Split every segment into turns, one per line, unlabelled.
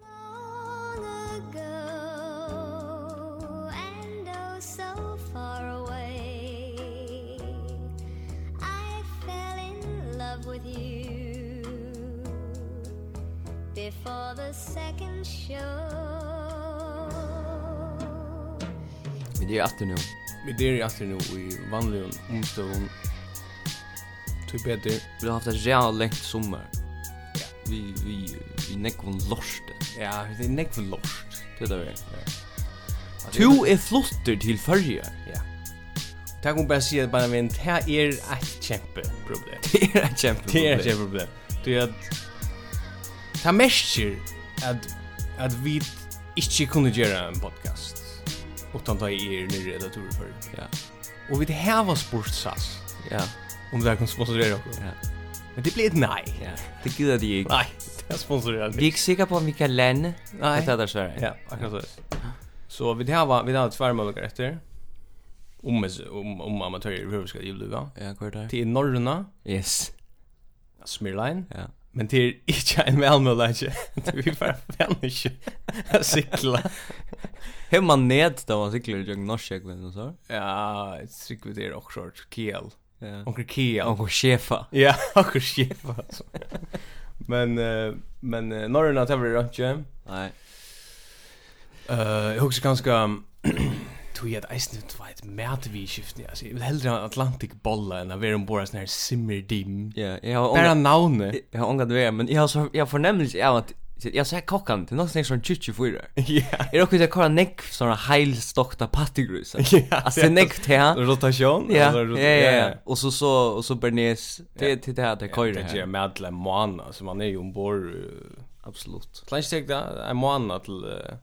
oh, before the second show
Vi er atter nå.
Vi der i aftur nu i vanligum
Mm.
omstøvun. Tu betur.
Vi har haft en real lengt sommer. Vi, vi, vi nekvun lorste.
Ja, det er nekk for lost.
Det er det vi er.
At
Tu
jeg-
er flotter til fyrjar.
Ja. Det kan um bara säga bara er men det här är ett kämpe problem.
Det er et kjempe
Det är ett kämpe problem. Det är att ta mäster att att vi inte kunde göra en podcast utan ta er ny redaktör för.
Ja,
Och vi det här var sportsas
ja,
om det här kan er sponsorera oss.
ja.
Men er det blir ett nej.
ja. Det gidder de ikke.
Nej, det är sponsorerat.
Vi er ikke sikre på om vi kan lande.
Nei.
Det er det svære.
Ja, akkurat så. Så vi det här var vi hade två möjligheter efter. Om om om amatörer hur ska det bli va?
Ja, hva er det? her?
Till norrna
Yes.
Smirline.
Ja.
Men er det är inte en välmöjlighet. Vi är er bara fan inte att cykla.
Hef man ned da man sikler i jøng norskjeglen og så?
Ja, cykla det är också short. er Kiel.
Ja.
Onkel Kiel.
Og sjefa.
Ja, onkel chef alltså. Men eh, men eh, norrna tar vi det inte.
Nei.
Eh, jag husar ganska tog jag att isen det var ett mätviskift. Alltså, jag vill hellre ha Atlantic bolla än att vara ombord på sån här simmerdim.
Ja, jeg har
Bara
ångat,
navnet.
jeg har ångat det, men jeg har, så, jeg har fornemmelse av at Jeg sier kokkan, det er nok snakk sånn 24
Ja.
Er det okkur til å kalla nekk sånne heilstokta pattigrusa?
Ja,
Altså, det er nekk til han
Rotation?
Ja,
Eller
ja,
rot-
ja, ja Og så så, og så bernes
Ja.
Det er til det her, det er
Ja,
køyre
Det är
her
med alla månader, så man är ju ombord. eh,
Absolutt
Kan inte tänka en månad till uh,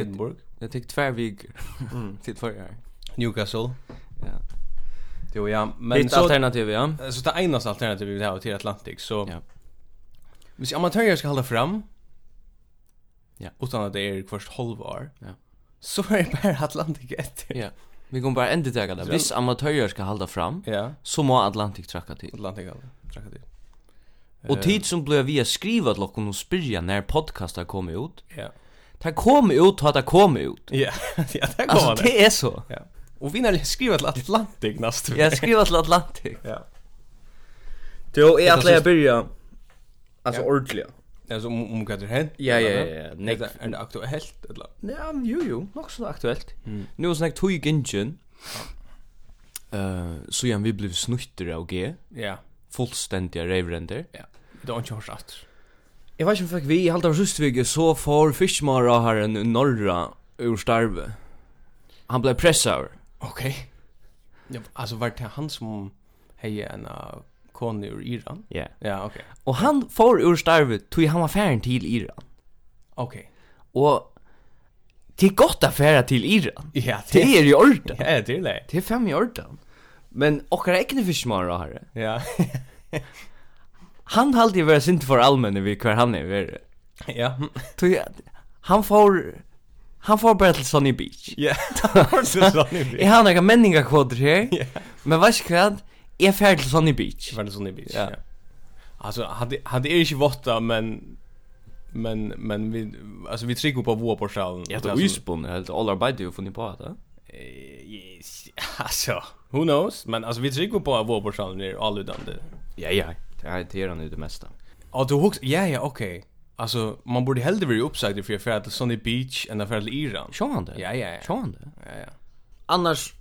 Edinburgh.
Det Mm. tek tvær viker Til køyre her
Newcastle.
Ja.
Jo ja, men
Mitt
så
alternativ, ja
Eh, så det ena alternativet vi har till Atlantic så
Ja.
Hvis amatörer ska hålla fram.
Ja.
Utan att det er är först halvår.
Ja.
Så är det bara Atlantic ett.
Ja. Vi kommer bare enda tega det
Så-
Hvis amatøyer skal halda fram
Ja,
Så må Atlantik trakka til
Atlantic alltså. Tacka dig.
Og tid som blei vi a skriva til okkur Og spyrja när podcastar kom ut
Ja.
Det kom ut, ta det kom ut
Ja, ja, det går
Altså,
det.
det er så
Ja. Och vi när skriver till Atlantic nästa
Jag skriver till Atlantic
Ja.
Jo, jeg
ætlaði að
byrja Altså
Ja.
ordentlig
Alltså om om vad det hänt.
Ja, ja, ja, ja.
Nej,
Nei.
är det aktuellt eller?
Ja, jo, jo, nok så aktuelt Nå er snakk tog gynnsjen uh, Så igjen vi blev snutter av G
Ja.
Fullstendige reivrender
Ja. Det er har inte hörts att.
Jeg vet ikke om fikk vi i halvdags rustvig Så får fiskmara her en norra Ur starve Han ble pressaur
Okej. Ja, alltså var det han som hej en uh, kon ur Iran?
Ja
Ja, okej.
Og han får ur starve Tog han var færen til Iran
Okej.
Og Det er godt affæra til Iran
Ja,
Det er i orden
Ja, det är det.
Det er fem i ordan. Men okkar egne fiskmarer har det.
Ja.
Han halde i vera sint for allmenne vi hver han er vera.
Ja.
Tog jeg, han får, han får bara til Sunny Beach.
Ja. Har du sån i
Jeg har nekka menningakvoter her,
Ja.
men veis hva, jeg fer til Sunny Beach.
Var det sån i bil?
Ja.
Ja. Alltså hade hade är inte votta men men men vi alltså vi trycker på vår portal.
Jeg heter Ysbund, jeg heter er All Arbeid, du har funnet på det.
Eh, Yes. Alltså, who knows? Men alltså vi trycker på vår portal när alludande.
Ja, ja, det er han jo det meste.
Ja, du hooks. Ja, ja, okej. Okay. Alltså man borde hellre vara uppsagd för att färda till Sunny Beach än att färda till Iran.
Sjå han det?
Ja, ja, ja.
Sjå han det?
Ja, ja.
Annars,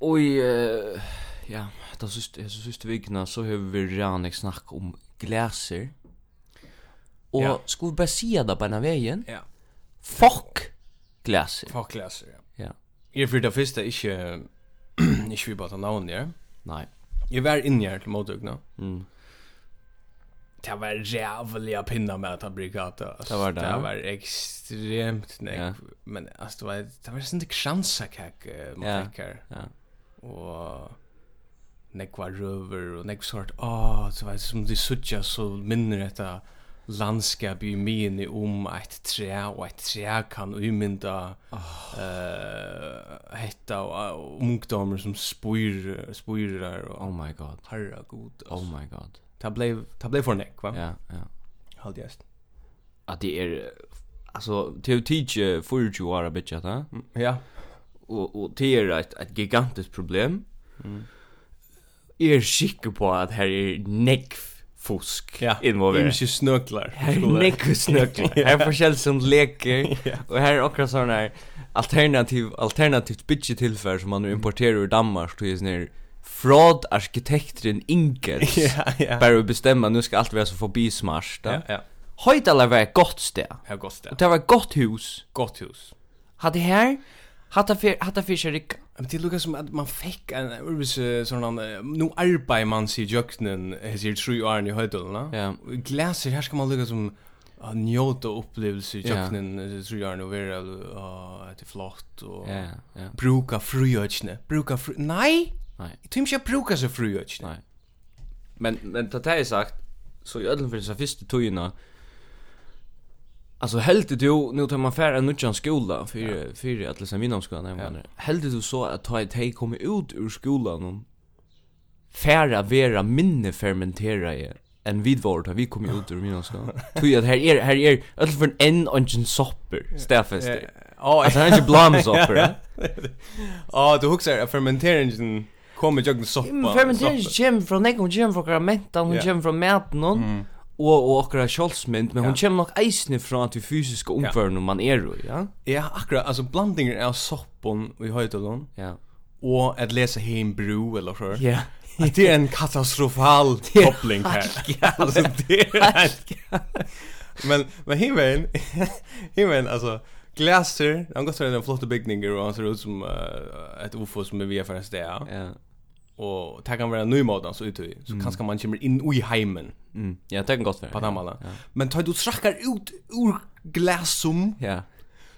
oi, eh, ja, da syste, jeg syste vikna, så har vi rannig snakk om glaser. Og
Ja.
skal vi bare sia det på en av veien?
Ja.
Fuck glaser.
Fuck läser. Ja.
Ja,
Jag för det första inte inte vi bara namn ja.
nei.
Jag var inne här till motugna.
Mm.
Det var jävliga pinna med att ha brigata. Alltså,
Det var det, ja.
Det var extremt nej.
Ja.
Men alltså det var det var eh, sånt chansakäck man
Ja.
fick här.
Ja.
och nekva röver och nekva sort åh så var det som de suttja så minner detta landskap um i minne om ett trä och ett trä kan ummynda eh hetta eh, och ungdomar som spyr spyrar
Oh
och
my god.
herra god
Oh my god.
ta blev ta blev för nek va
Ja, ja.
halt just
At det er, eh, altså, det er jo tidsi 40 år av bitja da,
ja
og, og det er et, et gigantisk problem. Mm. Jeg er sikker på at her er nekv fusk
Ja,
involveret.
Ikke snøklar.
Her er nekku snøkla. Her er forskjell som leker, og her er akkurat sånn her alternativ, alternativt bytjetilfær som man nu importerer ur Danmark, er tog jeg sånn her fraud arkitekteren Ingels,
Ja, ja.
bare å bestemme, nu skal alt være så forbi smart.
Ja,
Da.
ja.
Høydala var et godt sted,
Her er godt sted.
og det var et godt hus.
Godt hus.
Hadde her, hadde fyr, hadde fyr seg rikka.
Men det lukkar som att man fick en urvis sånn eh, nu arbetar man sig jöknen hesir tru åren i höjdulna.
Ja.
Glaser här ska man lukka som uh, njóta upplevelse i
Ja.
jöknen hesir tru åren och vera uh, det är flott och
Ja, ja.
bruka frujötsne. Bruka fru... Nei!
Nei.
Jeg tror ikke jeg bruker seg frujötsne.
Nei. Men men ta det sagt, så i ödlen för så första tojorna. Alltså helt du nu tar man färra nutjan skola för ja. för att läsa min omskolan jag menar. Helt du så att ta ett hej kommer ut ur skolan och färra vera minne fermentera i en vidvård har vi kommit ut ur min omskolan. Tog att här är här är ödlen för en ungen sopper, stäfester.
Åh,
Alltså han är inte blamsopper.
Åh, du huxar at fermenteringen kommer jöknen soppa.
Men fermentering kjem fra nek, hun kjem fra okra mentan, hun
Ja.
kjem fra maten hon, og, og okra kjolsmynd, men hun
Ja.
kjem nok eisne fra til fysiske omføren man er jo, ja?
Ja, akkurat, altså blandingen av soppon i høydulun
Ja.
og at lesa heim bru eller så.
Ja.
Att det är en katastrofal koppling här. Alltså det är helt- Men men himmelen himmelen alltså Glaser, han går till den flotta byggningen och han ser ut som eh, ett UFO som är via för en sted.
Ja.
Och det kan vara en ny måte så ut i. Så kanske man kommer in i heimen
Mm. Ja, det kan godt være.
på den måten.
Ja.
Men tar du trackar ut ur glasum
Ja.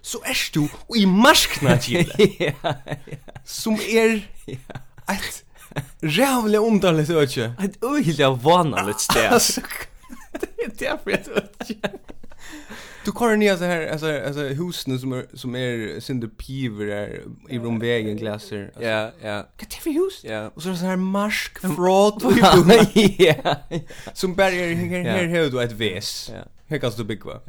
så är du i marskna till
Ja.
som är ett jävla underligt öke.
Et øyla vanalit sted.
Alltså, det är
er
därför jag tror Du kör ner så här alltså alltså husen som är som är synd piver där i rumvägen glaser. Alltså,
Ja, ja.
Vad är det för hus?
Ja.
Och så är det så här marsk fraud och
Ja.
som bärger här
Ja.
här här du ett väs.
Ja.
Här kan du bygga.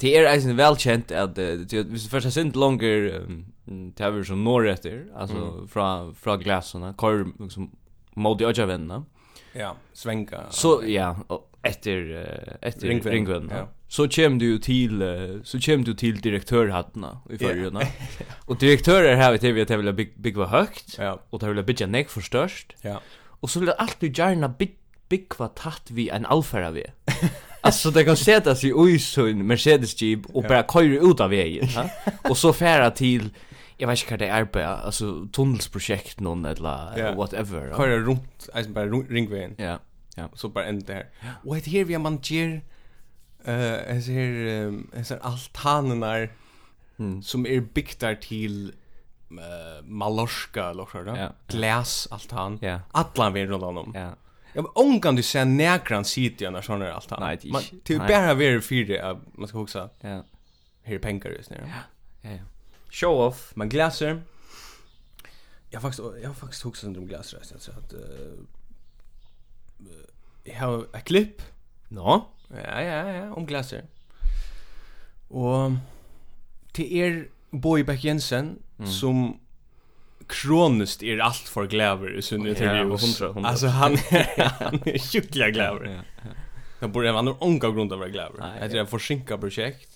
Det er eisen velkjent at eh, det- hvis du først har sint langer um, det er som når etter, altså fra, fra glassene, kvar liksom mot i øyla vennene,
Ja, svänga.
Så ja, och efter eh, efter
Ringvägen,
ringvägen.
ja.
Så kommer du till eh, så kommer du till direktörhattarna i förrjuna. och direktörer här vet vi att det vill bygga bygga högt
Ja.
och det vill bygga näck för störst.
Ja.
Och så vill det alltid gärna bygga bygga tatt vi en alfara vi. Alltså det kan sätta sig i så en Mercedes Jeep och bara köra ut av vägen, va? Och så färra till Jag vet inte vad det er, är på, alltså tunnelsprojekt någon eller
Ja.
whatever. va?
Kör runt, alltså bara runt ringvägen.
Ja, ja.
så bara ända här. Och det här vi har man ger eh uh, här um, här altanerna
Mm.
som är byggda till uh, Mallorca eller så där.
Ja.
Glas altan.
Ja.
Allan vi runt om.
Ja.
Ja, men om kan du se näkran city när sån där altan.
Nej, det är
Man-
inte.
det är
Nej.
bara vi för det att man ska huxa
Ja.
här är pengar just nu.
Ja, ja.
Show off. Men glaser. Jag har faktiskt jag har faktiskt huxat om glaser så att eh eh, jag har ett klipp
Nå?
Ja, ja, ja, om glaser. Og til er Boy Beck Jensen,
Mm.
som kronist er alt for glæver i sunn intervjus.
100, 100.
Altså, han, han er sjukkelig glæver.
Ja.
Han burde han har unga grunn av å være glæver.
Nei,
Det er et forsinka prosjekt,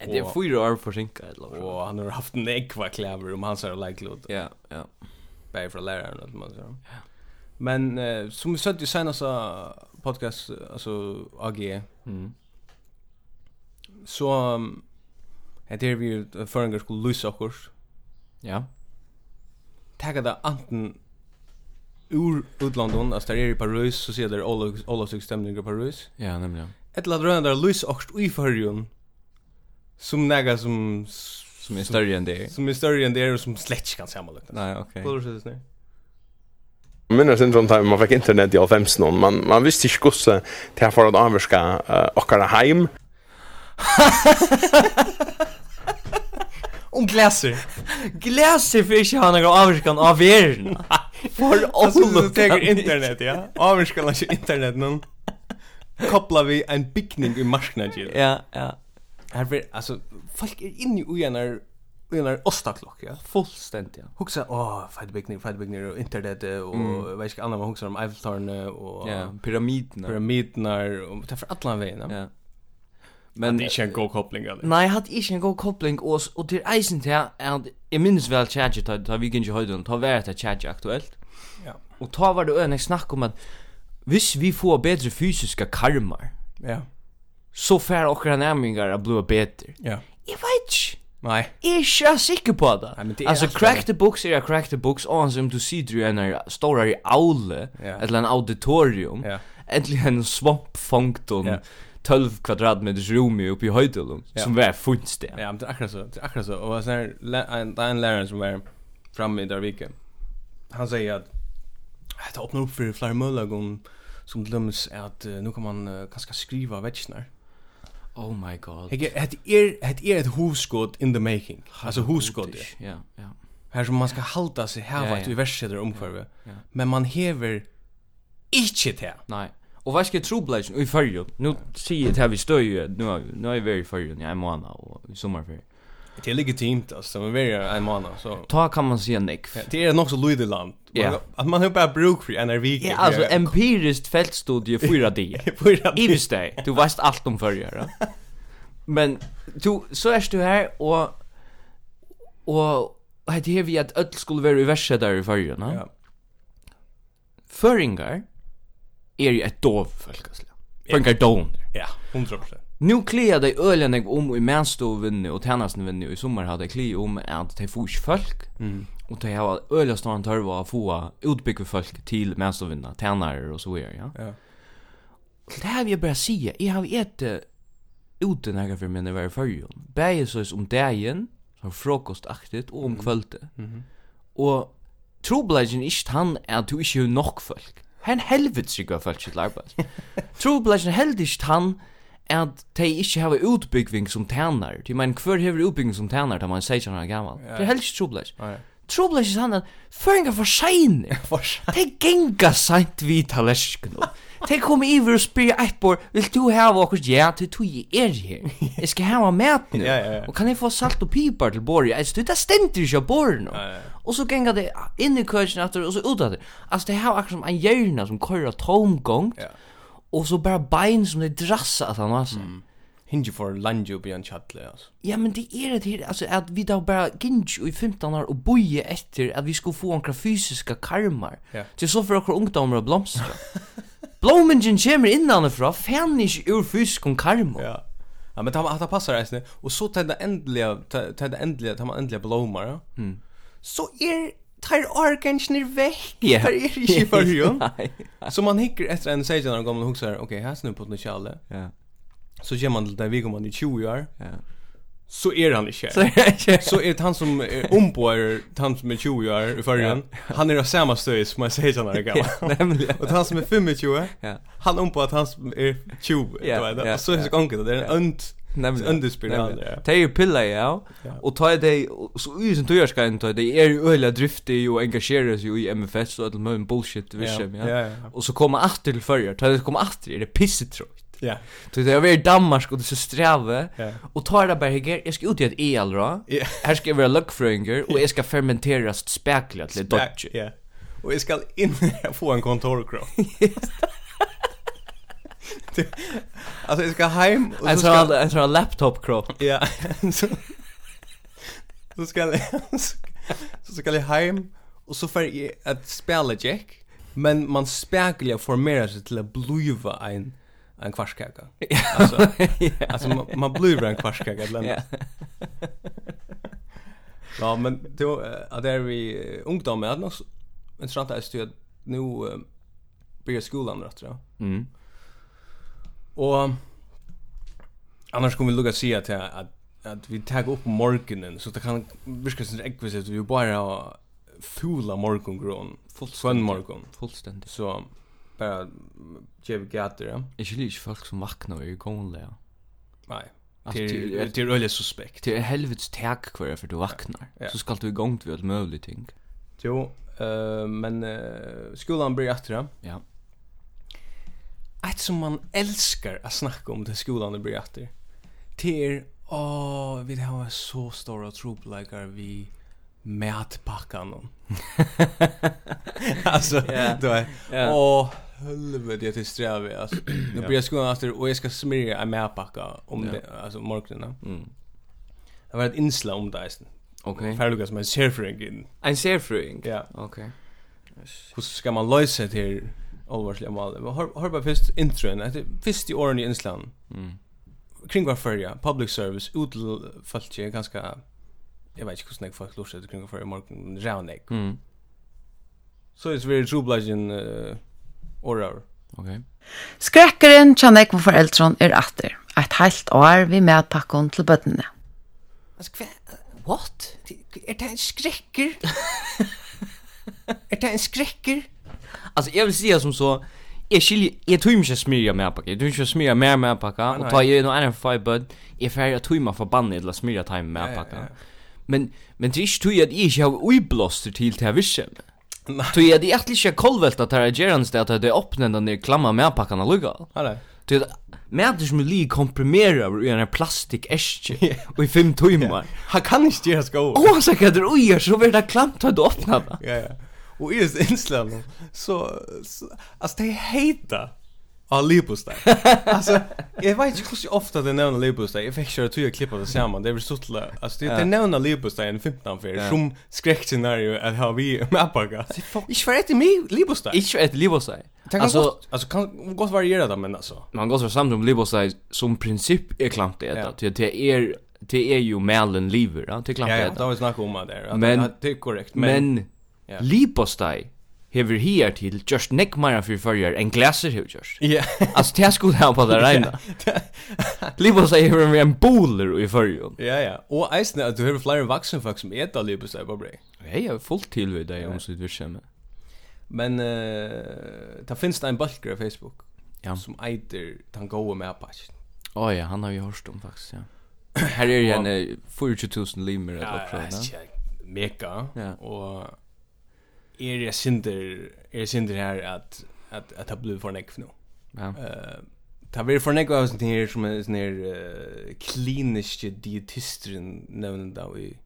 Det er fyra år forsinka eller
og
hva?
han har haft en ekva klæver om hans er her leiklod.
Ja, ja.
bättre från läraren att man säger. Men eh, som vi sa i senaste podcast eh, alltså AG.
Mm.
Så um, er det är vi ju förringar skulle lösa oss.
Ja.
Tagga det antingen ur utlandet, alltså där är i Paris så ser det alla stämningar i Paris.
Ja, nämligen.
Ett eller annat där lösa oss i förrjun. Som näga som
Som er är större än det.
som är större än det är och som slätt kan sammanliknas.
Nej, okej.
Kollar du så där?
minner sin sånn um time man fikk internett i 90 noen, man, man visste ikke hvordan det her for at avvirka uh, okkara heim.
Om glaser.
Gläser för inte han några avskan av er. For
Alltså du
Olof
tar
kan
internet, ja. Avskala sig internet någon. Kopplar vi en byggning i marknaden.
Ja, ja.
er Här blir alltså folk är inne i ojanar i en ostaklock, ja.
Fullständigt. ja.
Hugsa, åh, fight big near, fight big near, og internetet, og mm. vet ikke annet, man hugsa om Eiffeltårnet, og
Ja, pyramiderna.
pyramidnar, og det er for allan veien, ja.
Ja.
Men
Men
det er ikke en god kopling, eller?
Nei, jeg hadde ikke en god koppling, og, s- og til eisen til at jeg minnes vel Tjadji, da, da vi gikk ikke i høyden, da var det Tjadji aktuelt.
Ja.
Og da var det øyne snakk om at hvis vi får bedre fysiske karmar,
Ja,
så får okra nærmingar å bli bedre.
ja.
Jeg vet ikke.
Nei,
Jeg er ikke sikker på det.
Nei, men det er
altså,
alt
crack
det.
the books er crack the books, og som du sier du er en større aule,
Ja.
eller en auditorium,
ja.
endelig en svampfangt om
Ja.
12 kvadratmeters rum i oppe i høydelum,
Ja.
som var funst det.
Ja, men det er akkurat så, det er akkurat så. Og sånn her, læ- en- det er en lærer som var framme i Darvike. Han sier at eh, det åpner opp for flere muligheter om som til dømes er at eh, nå kan man eh, kanskje skrive vetsjene.
Oh my god.
Det er, det er et hovskott in the making. Altså hovskott, ja.
er Ja, ja.
Her som man skal halda sig
Ja,
hava
ja.
ett universum omkvarve.
Ja, ja.
Men man hever ikkje til.
Nei. Og hva skal trobladjen i fyrjon? Nå sier jeg til her vi støy, nå er, nå er vi i fyrjon, jeg er måned og i sommerferie.
Det er legitimt, altså. Man verger en måned, så...
Ta kan man si nekv.
Ja, Det er nok så lydig land.
Ja.
Man- At man har bara bruk for en ervik.
Ja, er altså, empiriskt feltstudie fyra dia. Ivis dig, du veist allt om fyrjar. ja. Men, du, så erst du her, og, og, det her vi at öll skulle være uversedar i fyrjon,
Ja.
ja. Føringar er jo et dov, folkeslega. Føringar doner.
Ja, 100%.
Nu kliar dei ölen eg om i manstovinni og tænastenvinni og i sommar har dei kli om at dei får ikke folk mm. og dei har øyla stående tørva å få utbygge folk til manstovinna, tænare og så videre, ja.
Ja.
Det här vill jag bara säga, jag har ätit ute några för mig när jag var i förrjun. Bäge sås om dagen, som frukostaktigt, och om kvölde. Och trobladgen är inte han att du inte har nog folk. Han helvete sig av folk till arbete. Trobladgen helvete inte han att de inte har utbyggving som tjänar. Jag menar, kvar har utbyggving som tjänar när man säger sådana gammal. Det är helst inte trobladgen.
Nej.
Trobladgen är han att föringar för sejning.
Fors.
Te genga sent vi talesken. Te kom iver og spyr eitt bor, vil du hava okkur ja til tui er her? Jeg skal hava mat nu.
Ja, ja, ja.
Og kan jeg få salt og pipar til borri? Jeg styrir, det stendur ikke av borri nu.
ja, ja.
Og så genga det inn i køkken atter og så ut atter. Altså, det hava akkur som en hjørna som køyra tomgong,
Ja.
og så bara bein som det drassa at han var seg.
Mm. Hinge for lunge upp i en chatle alltså.
Ja, men det er det her, altså, at vi da bare gynns i 15 år og boie etter at vi skulle få onkra fysiska karmar.
Ja.
Til så for okra ungdommer å blomstra. Blomingen kommer innanifra, fan ikke ur fysisk karma.
Ja. Ja, men ta ta passar reisne och så tar det ändliga tar det ändliga tar man ändliga blommor, ja. Mm. Så är tar organsnir veck.
Ja.
Tar er är i förhjul.
Nei.
Så man hickar efter en sägen när gamla huxar, okej, här snur potential.
Ja,
Så ger man till där vi går man i 20 år.
ja.
Så är han inte.
Så er ikke...
Så är det han som är omboer, han som är 20 år i förhjul. Han är av samma stöj som man säger när gammal.
Nemlig.
Och han som är 25,
Ja.
han om på att han som är 20,
Ja,
du vet.
ja,
Och så är det så gången, det är en önt,
Nemlig.
underspyr
Nemlig.
det
Det er jo pilla, ja.
Ja.
Og ta er det, og så ui som tøyerskain, ta er det er jo øyla driftig og engasjerer seg jo i MFS og all møyen bullshit vishem, ja.
Ja, ja.
Og så koma aftur til førjar, ta det koma aftur, er det pissetrøyt.
Ja.
Du vet, jag var i Danmark och det är så sträve.
Ja.
Och tar det er bara här, jag ska ut i ett el då.
Ja.
Här ska jag vara lökfröingar och jag ska fermentera späckliga till dodge.
Ja. Och jag ska in få en kontorkropp. Det- Alltså jag ska hem och
En
så
sån här,
ska
en sån här laptop-kropp.
ja. Så, så ska jag så ska jag hem och så får jag att spela jack. Men man speglar formerar sig till att bluva en en kvarskaka. Alltså alltså man, man bluvar en kvarskaka ibland.
Ja.
Ja, men då eh, att är vi eh, ungdomar att något intressant är ju att nu eh, börjar skolan rätt då.
Mm.
Och annars kommer vi lugga se att att att vi tar upp morgonen så det kan virka som ekvis att vi bara har fula morgongrån, skön morgon.
Fullständigt.
Så bara mm, ge vi gator, ja.
Jag gillar inte folk som vaknar i gångläge.
Nej.
Alltså,
Det
till-
är det är öle suspekt.
Det är helvets tag kvar för er, du vaknar.
Ja.
Så ska du igång till allt möjligt ting.
Jo, eh men eh, skolan börjar efter det.
Ja.
um Ett som man älskar att snacka om till skolan det blir efter. Det är Åh, vi har en så stora tropläkar vi mätpackan. alltså,
Ja.
då är
Ja.
Åh, helvete jag till strävar er alltså. Nu blir jag skolan efter och jag ska smyrja en mätpacka om
Ja.
det, alltså morgonen.
Mm.
Det var um ett inslag om det. alltså.
Okej.
Färdiga som en serfring.
En serfrøying.
Ja.
Okej.
Hur ska man lösa det här allvarsliga målet? Men Har, har bara först intron, att det först i åren i Insland.
Mm.
Kring var förra, public service, utfallt ju ganska, jag vet inte hur snägg folk lorset kring var förra i morgon, rävnägg.
Mm.
er Så är det så vi är troblagen uh, årar.
Okej.
Skrekkerinn tja nekva foreldron er atter. Eit heilt år vi medpakkon til bøttene.
Altså, hva? What? Er det en skrekker? er det en skrekker?
Alltså jag vill säga som så Jag skiljer, jag tror inte jag smyrja med pakka, jag tror inte jag smyrja mer med pakka
Nei,
Och
nei.
tar jag en annan five bud, jag färger att tog mig förbannet eller smyrja time
Ja,
med
ja, ja.
pakka Men, men det är inte tog att jag inte har uiblåster till det här vissen
Nei.
Tog att jag alltid inte har kollvälta att det här är gerans det att det är öppnen den där klamma med pakkan och lugga
Hallå.
Tog att Mäter som er är li komprimerar över i en plastik och i fem timmar
Han kan inte göra skål.
Oavsett vad det är oj, så blir det klamt att du öppnar det
Ja, ja. Och i det inslaget så, så alltså det heta av lipostej. alltså jag vet inte hur så ofta det nämner lipostej. Jag fick köra tio klipp av det samman. Det är väl så till alltså det det nämner lipostej en 15 för som skräckscenario att ha vi med packa. Ich war inte mig lipostej.
Inte ett liv och sig
Alltså alltså kan gott variera det men alltså.
man går så samt om liv och sig som princip är klamt det
Ja.
att det det är det er är ju mälen lever ja det är klamt
Ja, ja,
det
det har vi snackat om där.
Men-
Men det är er korrekt. Men
men
Ja.
lipostei hever hier til just neck mara för förr en glaser hur just
ja.
alltså det skulle ha på det rena lipostei hever vi en bowler i förr
Ja ja, och eisne att du har flera vuxna folk som äter lipostej på bröd.
jag är fullt till vid dig om så du känner
Men eh ta finns det en bulkare på Facebook
Ja.
som eiter den goa med patch.
Åh ja han har ju hört om faktiskt um ja Här är ju en eh, 40.000 limer eller
Ja,
vad det
ja, mega.
Ah, er
er
Ja.
Och är det synder är det synder här att att att ha blivit för neck nu.
Ja.
Eh ta vi för neck av sån här som är sån här er eh, kliniska dietister nämnda då i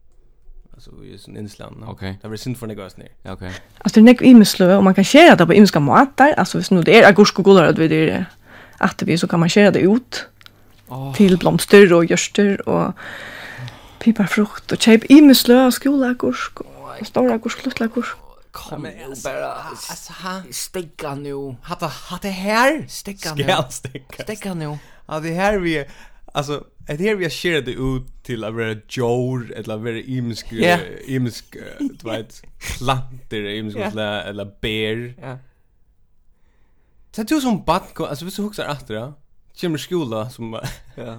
alltså i sån Island.
Okej.
Ta vi synd för neck av sån här.
Ja okej
Alltså det är nekv imeslöv och man kan köra det på imeska måtar. Alltså hvis nu det är agurk och gullar att vi det är vi så kan man köra det ut till blomster och görster och piparfrukt och tjejp imeslöv och skola agurk och stora agurk, luttla agurk.
Kom nu bara
Altså, ha?
Stegga nu
Hatta, hatta her? Stekka nu.
Skälstekar.
Stegga nu
Ja, det här vi alltså det här vi har det ut till att vara jord eller vara imsk
Ja.
eh, imsk eh, du vet planter imsk eller eller bär.
Ja.
Så du som bad alltså visst du huxar efter ja. Kommer skola som eh,
Ja.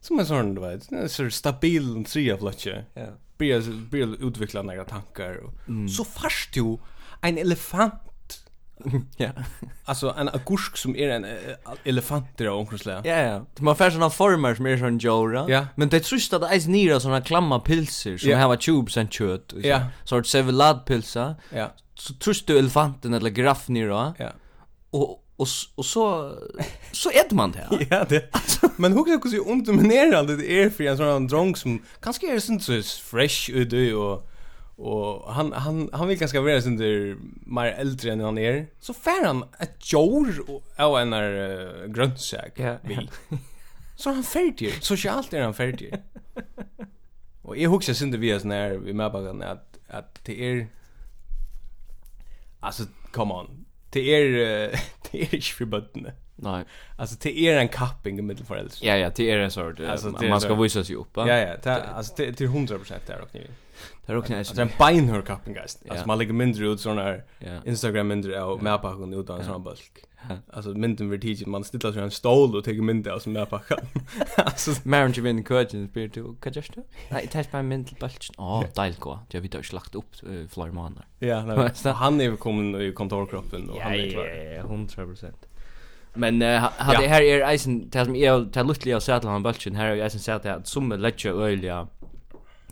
som en sån du vet en sån stabil trea flotje.
Ja. Mm.
Blir blir utveckla några tankar och så fast du en elefant
Ja.
Alltså en agurk som är en eh, elefant där av något slag.
Ja ja. Man får såna former som är sån jora.
Ja.
er Men det tröstar det är nere såna klamma pilser som
Ja.
har tubes and kött.
Ja.
Sort sevelad pilsa.
Ja.
Så tröstar du elefanten eller graff nere.
Ja.
Och och s- och så så äter man det.
Ja, det. Men hur kan jag underminerande det är för en sån här drunk som kanske är sånt så fresh ut och och han han han vill ganska vara sånt där mer äldre än han är. Så fär han ett jor och- och en där uh, grönsak.
Ja,
bil. Så är han färdig. Socialt är han färdig. och jag huxar sånt vi är sån här vi med bakan att att det är alltså come on. Det är eh, det är inte för bötterna.
Nej.
Alltså det är en kapping i mellan föräldrar.
Ja ja, det är en sort. eh,
Alltså, det är
man ska
så-
visa sig upp.
er Ja ja, det är, alltså det det är 100% där och ni.
Det är också nice.
Alltså det är en beinhör kapping guys.
Ja.
Alltså man lägger mindre ut såna här
Ja.
Instagram mindre och medpacken utan en sån bulk. Alltså mynden vill tidigt man stillar sig en stol och tar mindre av som medpacken. Alltså
Marriage vin coaching spear to kajasta. Nej, det är bara min bulchen. Åh, dejligt gå. Jag vet inte slakt upp eh, flera månader.
ja, nej.
Vad är det?
han är kommen i kontorkroppen och han är klar.
ja, 100%. Men uh,
Ja.
hade här är isen det som jag tar lutliga och sätta han bulchen här är isen sagt att som lätta öliga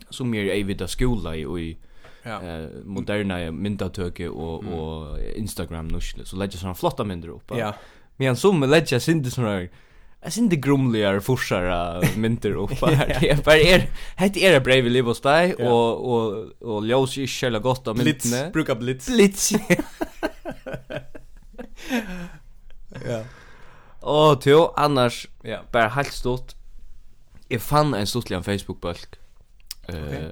som är i vid skola i och i
Ja.
eh, moderna myndatöke och och Instagram nuschle så lägger såna flotta mindre upp.
Mm. Ja.
Men som lägger synd såna Jeg synes det grumligere forsere mynter oppe her. Det er bare er, hett er det brei vi lever hos deg,
Ja.
og, og, og er ljøs ikke kjøler godt av
Blitz,
myntene.
brukar blitz.
Blitz.
Ja.
Og til, annars,
Ja.
bare helt stort, jeg fann en stortlig en Facebook-bølg. Eh,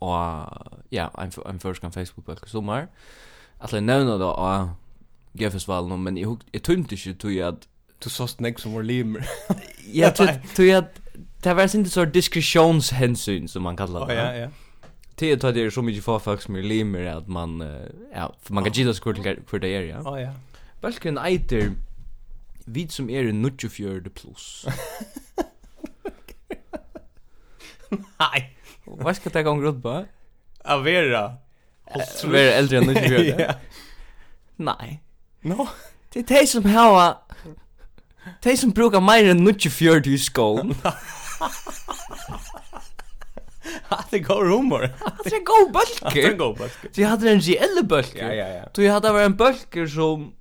Og, ja, en, f- en førskan Facebook-bølg i sommer. At jeg nevner det av G-festivalen, men jeg, hug- jeg tømte ikke tog at
Du såst nek som var limer.
Ja, tror jag det var inte så diskretionshänsyn som man kallar det.
Ja, ja.
Det tar det så mycket för folk som är limer att man eh, ja, för man kan gilla sig för det är, ja.
Ja, ja.
Balken eiter vid som är en 94 plus.
Nei.
Och Vad ska det gå runt på?
Avera.
Vi är äldre än 94. ja.
Ja.
Nej.
No.
Det är de som har de som brukar mer än 94 i skån.
Det går humor.
Det är god
Det
balken.
går basket.
Så jag hade en reell balken.
Ja, ja, ja.
Så jag hade varit en bölker som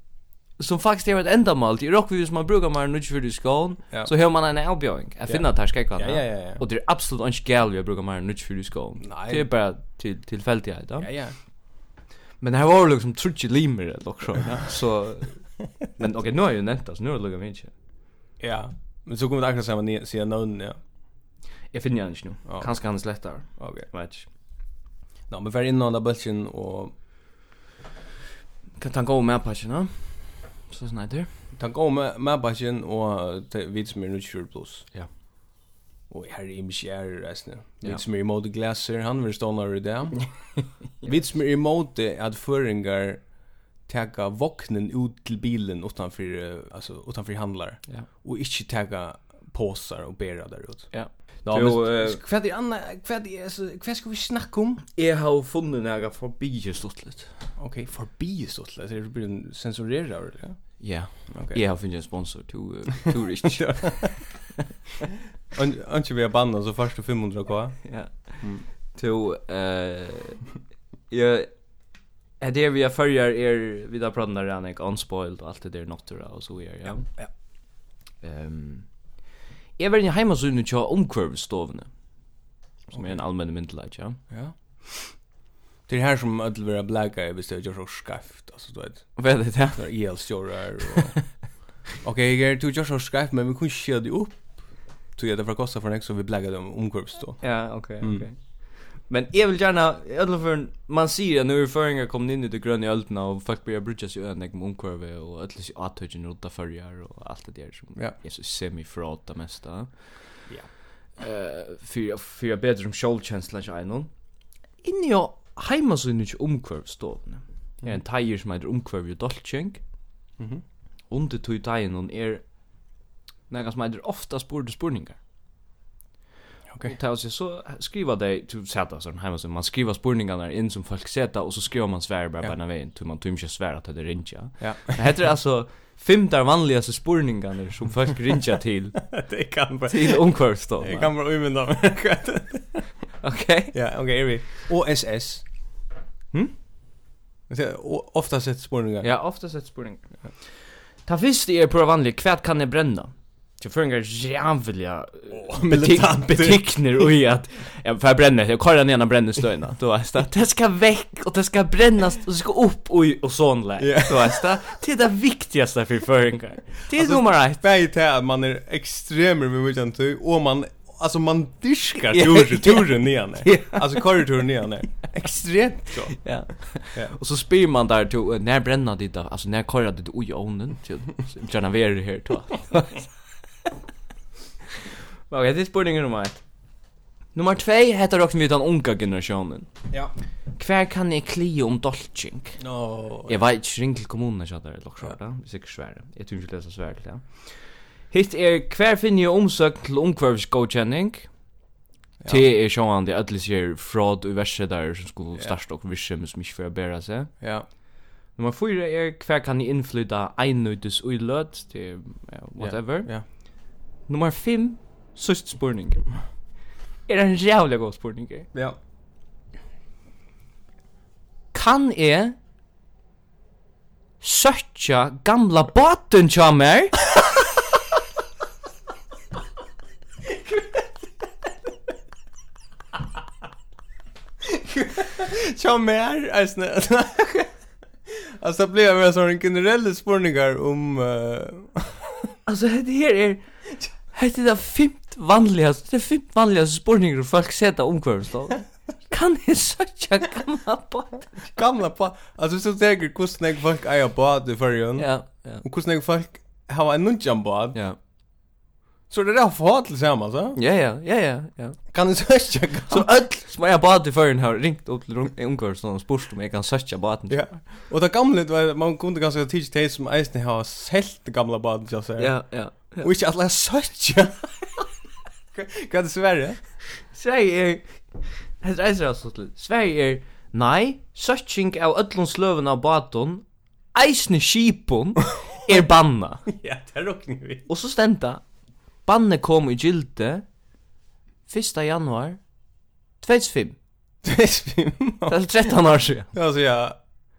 som faktiskt är ett ändamål till rockvis man brukar man nu för det skån
Ja.
så hör man en avbjöring. Jag finner att här ska jag
Ja, ja, ja, ja.
Och det är absolut inte gal jag brukar man nu för det skån.
Nej.
Det är er bara till tillfällighet då.
Ja, ja.
Men det här var liksom trutch limer eller också. Så eh, men okej nu har jag ju nämnt alltså nu har jag luggat mig inte.
Ja. Men så kommer det akkurat samma ner, sier någon, ja.
Jag finner han inte nu.
Ja.
Kanske han slättar.
Ok.
Match.
Nå, men vær innan av bølgen og
Kan ta gå med patchen då? Så snider.
tank om med, med bølgen og te- vi som er nu 20 plus.
Ja.
Og her er imens jeg er reisende. Vi
Ja.
som er imot glaser, han vil stående over i det. Vi som er imot det at føringar teka vognen ut til bilen utanför, eh, alltså utanför handlar.
Ja.
Och inte teka påsar och bära där ut.
Ja.
Nå,
Jo,
men, er
eh,
vad är Anna, vad är alltså, vad ska vi snacka om?
Jag har funnit några förbi just lite.
Okej, förbi så att det blir en censurerad eller? Ja.
Ja.
Okej.
Jag har funnit en sponsor till eh, tourist.
Anke vi har bannan så först och 500 kvar.
Ja. To eh ja är det vi har följer er vi där pratar där Anik unspoiled och allt det där natura och så är ja.
ja.
Ehm Jag var inne hemma så nu tjå omkurvstovne. Som är en allmän myndelaget, ja.
Ja. Det är här som ödel vara blacka i bestället gör så skarpt. Alltså du vet,
Vad är er det där?
där el-stjorar och... Okej, okay, du gör så skarpt men vi kunde inte köra det upp. Så jag det får kosta för en extra vi blacka dem omkurvs då.
Ja, okej,
Mm.
okej. Men jag vill gärna, i alla fall, man ser att nu är föringar kommit in i det gröna i ölterna och folk börjar brudja sig öden om omkurve och ödlas i attöjden och förjar och allt er det där som
Ja.
är så semi-fraud det mesta.
Ja.
Uh, för, för jag bättre om självkänslan inte är någon. Innan jag hemma så är det inte omkurvstående. Jag är en tajer som heter omkurv i Dolchink.
Mhm.
Under tog tajen hon er är några som heter ofta spår spårningar.
Okej.
Och tar sig så skriva det till sätta så hemma så man skriver spårningarna in som folk sätta och så skriver man svär bara
Ja.
på den vägen till man tömmer svär att det är rinja.
Ja.
Det heter alltså fem där vanligaste spårningarna som folk rinja till
Det kan bara...
till omkvarstå.
Det kan bara umynda mig.
Okej.
Ja, okej, är vi. OSS.
Hm?
Ofta sett spårningar.
Ja, ofta sett spurning. Ta fyrst er på vanlig, kvært kan jeg brenne? Til føringar jævliga
militanter.
betikner ui at Ja, for jeg brenner, jeg korrar ned brenne støyna Du veist det, det skal vekk, og det skal brennas, og det skal opp ui og sånn lei
Ja.
Du veist det, det er det viktigaste for føringar Det er nummer ett
Bæði til at man er ekstremer med viljan til, og man, altså man dyrkar
Ja,
turen,
ja.
turen nian her.
Ja.
Altså korreturen nian her. Ekstremt så.
Ja.
Ja.
Og så spyr man der til, eh, nær brenna dit, da? altså nær korrar dit ui ånen, til gjerna veri her, to. Ok, det er spurning nummer ett. Nummer tvei er heter også vi den um unga generationen.
Ja.
Hver kan jeg klio om dolching?
Nå.
Jeg var ikke ring til er kommunen, kjatt der, eller kjatt der, sikkert svære. Jeg tror ikke det er så svære til, ja. Hitt er, hver finner jeg omsøk til omkvarvsgodkjenning? Det er sjåan det ødelig sier fraud og verset der som skulle
Ja.
størst og visse men som ikke får bæra seg.
Ja.
Nummer 4 er hver kan jeg innflytta einnøydes og lød til er, ja, whatever.
Ja.
Nummer 5, sørst spurning. Er en jævlig god spurning. eh?
Ja.
Kan jeg søtja gamla båten tja mer?
Tja mer, eisne. Alltså det blir mer sån generella spurningar om eh,
Alltså det här är Det är det fimt vanligaste Det är fimt vanligaste spurningar folk sätta omkvarmstånd Kan ni söka gamla på
gamla på. Alltså så tänker hur snägg folk är på det för ju.
Ja, ja,
Och hur snägg er folk har en nunjan på.
ja
Så det är för att tillsammans, va?
Ja, ja, ja, ja, ja er
Kan du söka?
Så öll som jag bad i förrän har ringt upp till omkvarmstånd och spurt um om jag kan söka baden
Ja. Och det gamla det var man kunde ganska tidigt till som eisne har sålt det gamla badet jag säger.
ja, ja
Och inte alla söka. Kan du svära?
Sverige er Hetta er eisini ræðslu til. Sverige er nei, søking av öllum sløvun av bátun, eisini skipun er banna.
Ja, det råknar vi.
Og så stenda banne kom i gilde 1. januar 2005.
Det spim.
Det er 13 år siden.
Alltså ja,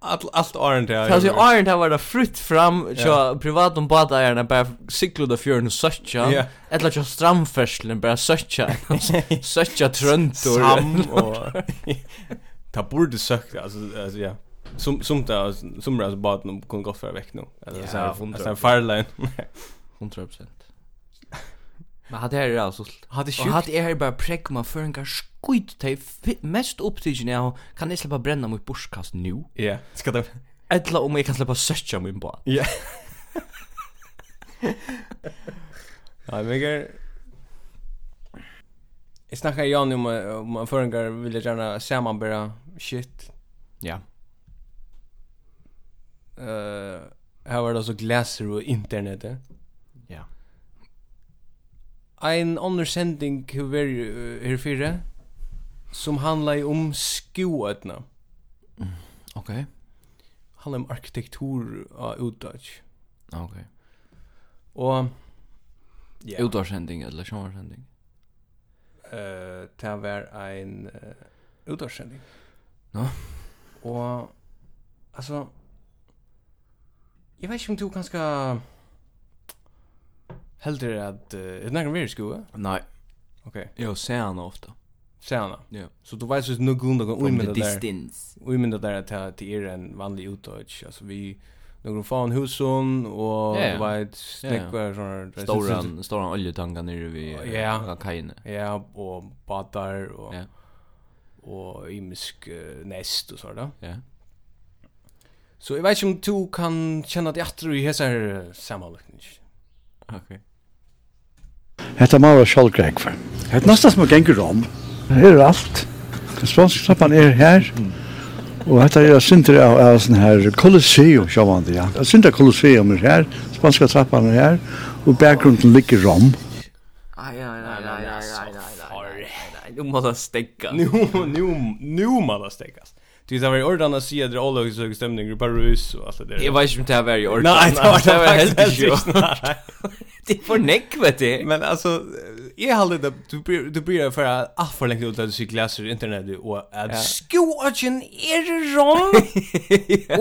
allt allt aren't det.
Det er altså Arndt har vært frutt fram til privatum badeierne bare siklet av fjøren og søtja,
Ja.
eller til stramferselen bare søtja, søtja trøntor.
sam och ta borde sökt alltså alltså ja. Som som där som er, där bara de kunde gå för veck nu. Alltså
Ja,
så er här
hundra.
så här fireline.
100%. Men er hade här är alltså
Hade
Och hade jag här er bara präck man för en gar skit te mest er upptigen jag kan jag släppa bränna mot borskast nu
Ja, ska det.
eller om jag kan släppa sötja min bad.
Ja. Ja, men er- jag Jag snackar ju om eh, om man förringar vill jag gärna sammanbära shit.
Ja.
Eh, här var det alltså glaser och internet. Eh?
Ja.
Ein annan sending hur hur fyra som handlar ju om skoötna.
Okej.
Handlar om arkitektur av utdage.
Okej.
Och ja,
Utårsending eller sommarsending.
eh det var ein uh, utdagssending.
Nå.
Och alltså jag vet inte om du ganska hellre att uh, när kan vi skoa?
Nej,
Okej.
jag ser han ofta.
Okay. Anna.
Ja.
Så du vet så nu grundar kan
From
umynda
the
där.
distance.
Och jag menar där att det- det är en er vanlig utdöj. Alltså vi, några fan husen och
Ja, ja.
yeah. vet, snäckvar och sådana.
Storan, storan oljetanka nere vid eh,
Ja.
kajene.
Ja, och badar och,
Ja.
och imisk eh, näst och sådär.
Ja.
Så jag vet inte om du kan känna dig att du i eh, hessa här sammanläggning.
Okej.
Hetta má vera sjálvgreik for. Hetta er næsta sum gengur om. Her er alt. Responsknappan er her. Og hetta er sindur av av sånn her Colosseum sjálvandi, ja. Sindur Colosseum er her, spanska trappan er her, og bakgrunden ligger rom.
Aj aj aj
men
aj
alltså,
aj
far.
aj. Nej, du måste stäcka.
Nu, nu, nu man har stäckas. Du vet, det var i ordan att se att det er är alldeles stämning i Paris och allt det där.
Jag vet inte om det här var i ordet.
Nej, det var det var helt
inte.
inte.
Det är för näck, vet du.
Men eh, alltså jag hade det du blir du blir för att ah, för länge ut att du läser internet och att ja. skoagen är rom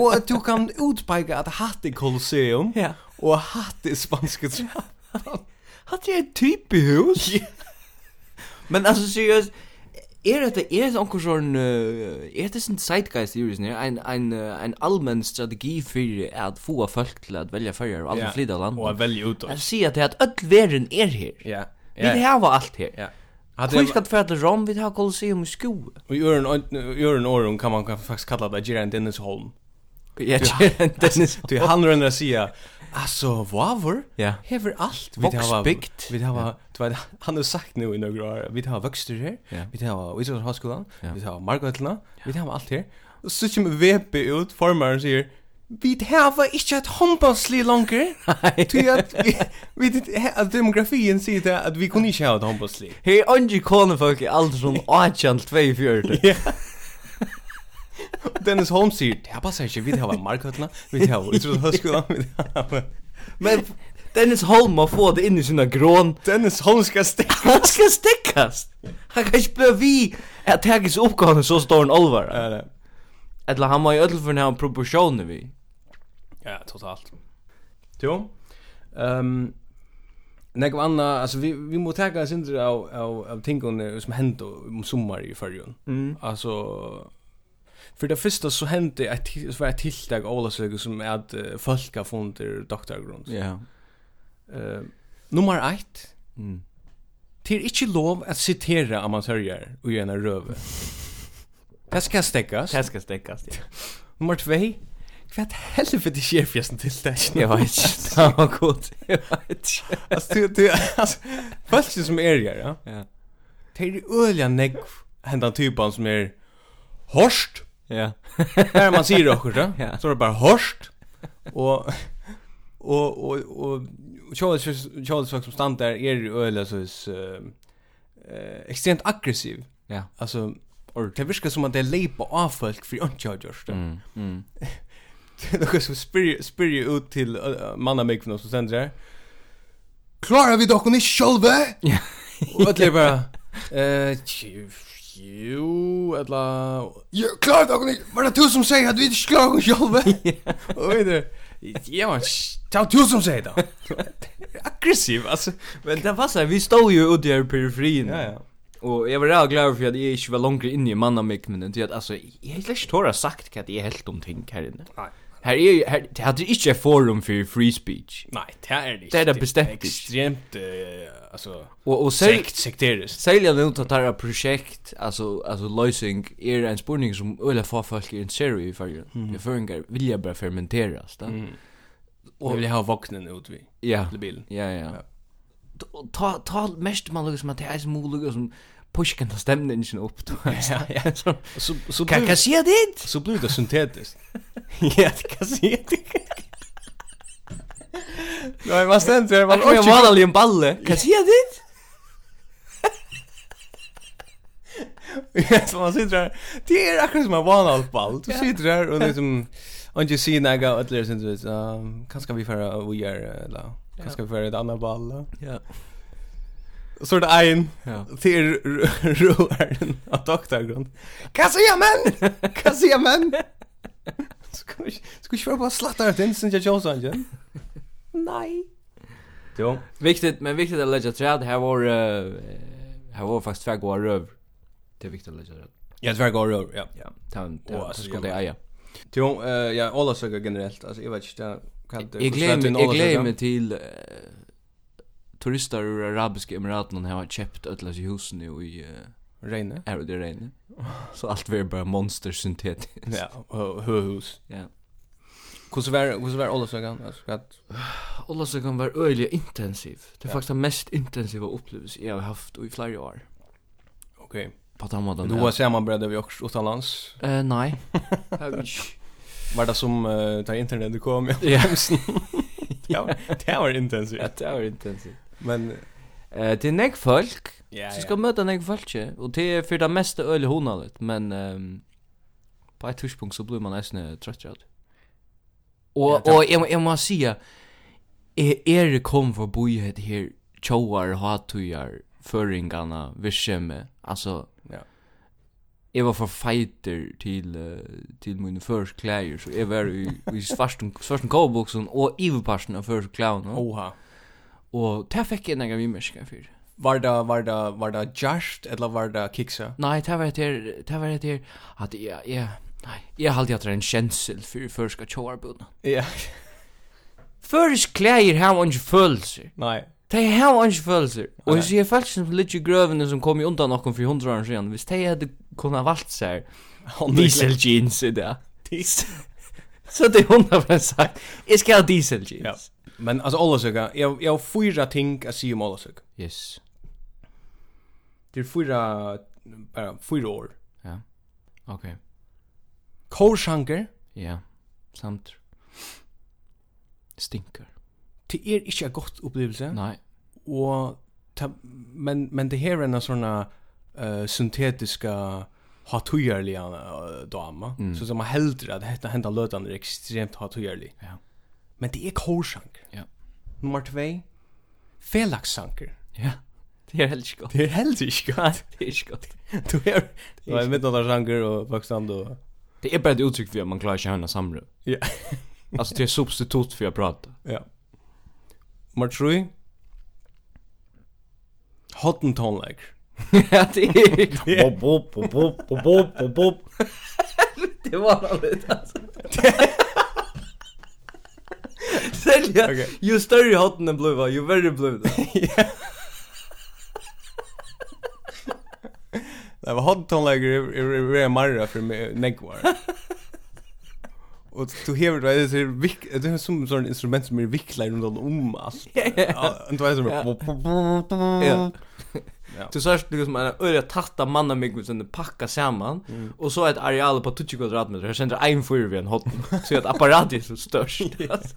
och att du kan utpeka att hatt i Colosseum
Ja.
och hatt i spanska trappan.
Hatt er et type hus? Men altså, seriøst, er dette, er dette onkur sånn, uh, er dette sin zeitgeist i jurisen, en, en, uh, en allmenn strategi for at få folk til at velja fyrir og alle flytta land?
och att välja ut
Jeg
oss.
sier at det at öll verden er her.
Ja.
Vi hava allt her.
Ja. er Hade
Hvor
jag
skal du færa til Rom, vi har kolosseum i sko.
och gör en gör en åren kan man kan faktiskt kalla det Gerard Dennis Holm.
Ja, Dennis.
Du han rönnar sig Alltså, vad
Ja.
Hever allt
Voxbygd.
Vi har du vet han har sagt nu i några år. Vi har växter här.
Ja.
Vi har Islands högskolan.
Ja.
Vi har Margotlarna. Vi har allt här. Och så kommer VP ut formaren säger Vi har inte ett handbollsli längre. Ty att vi vi att demografin säger det att vi kunde inte ha ett handbollsli.
Hei, ongi er konefolk i alder sånn 18-24.
Dennis Holm säger det här passar inte. Vi har Margotlarna. Vi har Islands högskolan. Vi har
Men Dennis Holm må få det inn i sina grån.
Dennis Holm ska stäcka.
Han ska stäckas. Han kan inte bli vi att ta sig uppgående så står en olvar.
Ja, er nej.
Eller han må ju ödel för den här proportionen vi.
Ja, totalt. Jo. Ehm Nekva anna, alltså vi vi må ta en synder av av av tingon som hände om sommar i förrjun. Mm. Alltså för det första så hände ett till- så var ett tilltag av alla saker som är att uh, folk har funnit doktorgrund.
Ja.
Eh nummer 1
Mm.
Det är inte lov att citera amatörer och gärna röve. Det ska stäckas.
Det ska stäckas. ja.
Nummer 2 Kvätt helvete sker fjästen till det.
Jag vet inte. Det var gott. Jag vet inte.
Alltså du du alltså folk som är här, ja.
Ja.
Det är öliga negg hända typen som är horst.
Ja.
När man säger det också,
Ja.
så är det bara horst. Och och och och Charles Charles som stand där är ju öliga så is eh extremt aggressiv.
Ja.
Alltså Or det virkar som att det leipar av folk för att jag görs det.
Mm. Mm.
Det är något som spyr, spyr ju ut till uh, mannamikven och så sen där. Klarar vi dock inte själva?
Ja.
Och att det är bara... eh, tju- Jo, eller... Jo, klarar dock inte! Var det du som säger att vi inte klarar oss själva? Och vet du... Ja, men... sh- Det var du som säger det. Aggressiv, alltså.
Men det var så här, vi stod ju ute i periferin.
Ja, ja.
Och jag var rädd glad för att jag inte var långt inne i mannamikmen. Det är att alltså, jag har inte tåra sagt att jag är helt om ting här inne.
Nej.
Här är ju, här, det hade inte ett forum för free speech.
Nej, det är det inte.
Det är det bestämt inte.
Extremt, eh, alltså...
Och, och särskilt,
Sekt, sekteriskt.
Sälja nu att det här projekt, alltså, alltså lösning, är er en spurning som öliga få folk är intresserade i färgen. Mm. Föringar vill jag bara fermenteras. Da?
Mm. Och vill ha vaknen ut vid.
Ja,
Till bilen.
ja, ja. Ta- Ta, ta mest man lukkar som att det er är som olika som pushkan ta stämningen upp. Ja, ja.
Så, så
Kan jag säga det?
Så blir det syntetiskt.
Ja, kan säga det.
Nej, man ständer det.
Man kan ju vara en balle. Kan jag säga det?
Ja, så man sitter där. Det är akkurat som en vanalpall. Du sitter där och liksom... Och inte ser några och eller sånt. vet, ehm, Kanske vi föra och gör eller... Kanske vi föra ett annat ball. eller?
Ja.
Och Så är det en
Ja.
till roaren av doktorgrund. Kan säga men! Kan säga men! Ska vi ska vi köra på slattar den syns jag Johnson igen? Nej. Jo.
Viktigt, men viktigt att lägga träd. Här var, eh, här var faktiskt två goa röv. Det är viktigt att lägga träd.
Jag tvär går över, ja.
Ja, ta,
Och,
ta, ta
alltså,
skål i
jag-
eja.
Jo, eh ja, alla söker generellt. Alltså jag vet inte jag kan
Jag glömmer jag glömmer till eh, turister ur arabiska emiraten har köpt ödlas hus nu i eh,
Reine.
är det regn. Så allt blir bara monster syntetiskt.
Ja, och höhus.
Ja.
Hur så var hur så var alla sökan? Alltså att
Alla så kan vara öjliga intensiv. Det är faktiskt den mest intensiva upplevelse jag har haft i flera år.
okej.
På den måten.
Då var sammanbredda vi också utomlands.
Eh, nej.
Var det som uh, tar internet det kom. Ja.
Ja,
Det var- Det var intensivt.
det var intensivt.
Men
Eh, det är nägg folk.
ja.
Så ska möta nägg folk. ja. Och det är för det er mesta öjliga honalet. Men ehm, på ett tidspunkt så blir man nästan trött rädd.
Ja,
Och
det-
och jag må- jag måste säga är är det er, kom för bojet här tjoar hatujar föringarna vischeme. Alltså
Ja.
Jag var för fighter till eh, till mina första kläder så jag var i i svarten svarten cowboyboxen och iverparsen av första kläderna.
Oha.
Och där fick jag några vimerska för.
Var det var det var det just eller var det kiksa?
Nej, det var det det var det att jag jag nej, jag hade jag en känsel för första tjoarbund.
Ja.
Førisk klæger hava ongi følelser.
Nej.
Tei hava ongi følelser. Og
Nei.
hvis jeg følelser som ligger i grøvene som kom i undan okkom for hundra år siden, hvis tei hadde kunna valgt seg diesel jeans i det, så hadde jeg hundra for sagt, jeg skal ha diesel
Ja.
jeans.
Men alltså alla söka. Jag jag har fyra ting att säga om alla söka.
Yes.
Det är fyra bara fyra år.
Ok.
Korsanker,
Ja. Samt. Stinker.
det er ikke en godt opplevelse.
Nei.
Og ta, men, men det her er en sånn uh, syntetiska hatujarlig uh, dama.
Mm.
Så som man heldur at dette hendan løtan er ekstremt hatujarlig.
Ja.
Men det er korsanker.
Ja.
Nummer 2. Felakssanker.
Ja. Det er heller ikke godt.
Det er heldur ikke
Nei, det er ikke godt.
Du er Du er midnattarsanker og Pakistan og
Det er bare et uttrykk for at man klarer ikke å høre samrød.
Ja.
altså, det er substitut for å prate.
Ja. Nummer 3. Hotten tonelager.
Ja, det
er
er- är
Bop, bop, bop, bop, bop, bop, bop, bop.
det var alltså.
er-
Sälja,
Okej.
ju större hotten den blev, ju värre blev det.
Det var hot tonelager är är marra för mig negvar. Och du hever det är så vick det är som sån instrument som är vicklar runt om allt. Ja, och du är
Ja.
som Ja.
Du sa er det som en öra tatta manna mig som er det packa samman och så ett areal på 20 kvadratmeter. Här sänder en fyr vid en hot. Så er att apparatet är så störst. alltså.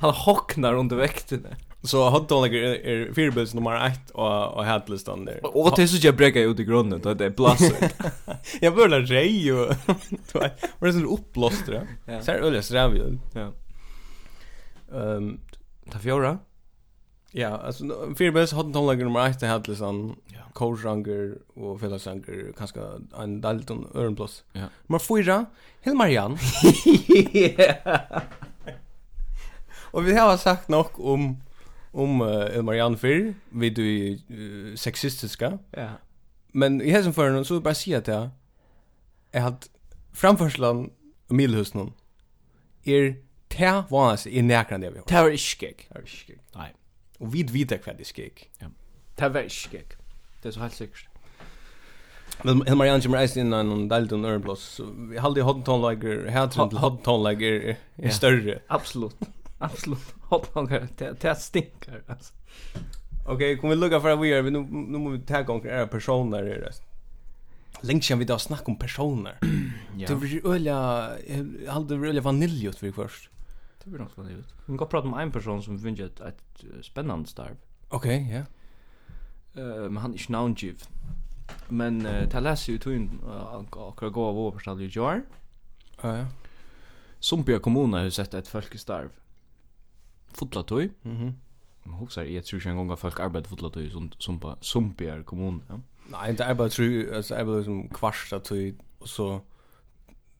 Han hocknar under väkten.
Så hot tonelager är fyrbilds nummer 1 och och hatlistan där.
Och det är så jag bräcker ut i grunden. Det er är blasset.
Jag började rej och du vet, var det så uppblåst det.
Ja.
Så här öliga sträv ju.
Ja.
Ehm
Ta fjora.
Ja, alltså no- fyra bäst hade tonlager nummer er 1 hade liksom Korsranger och Felasanger kanske en Dalton Örnblås.
Ja.
um Nummer 4 Hilmar Jan. Och vi har sagt nog om om uh, Hilmar Jan för vi du uh, sexistiska,
Ja.
men i hesen för så vill jag bara er säga att jag är att framförslan och Milhusen är tä vanas i näkran det vi har.
Det er var iskek.
Det är skik.
Nej.
Och vi vet vad det är skik.
Det er var iskek. Det är så helt säkert.
Men Hilmar Jan kommer eisen inn en Dalton Örnblås. så Vi halde i hottonlager, hatren til hottonlager
Ja.
er større.
Absolut. Absolut. Hotdogger, det, det stinker alltså.
Ok, kom vi lukka for at vi er, vi- nu nu må vi ta gong er personer er det. Lengt siden vi da snakk om personer.
Ja.
Det blir øyla, jeg halde det øyla vaniljot for først.
Det blir nog så ut. Vi går prata om en person som finns ett, ett eh, spännande starv.
Ok, ja.
Eh, men han är inte namngiv. Men uh, det läser ju tog eh, akkurat gå av overstall i Jar.
Ja, ja.
Sumpia kommuna har sett ett folkestarv. Fotla tog.
Mhm.
Man huxar, jag tror inte en gång att folk arbetar fotla tog i Sum- Sumpa- Sumpia kommun. Ja.
Nei, det er bare tru, altså jeg bare som kvarsta tøy, og så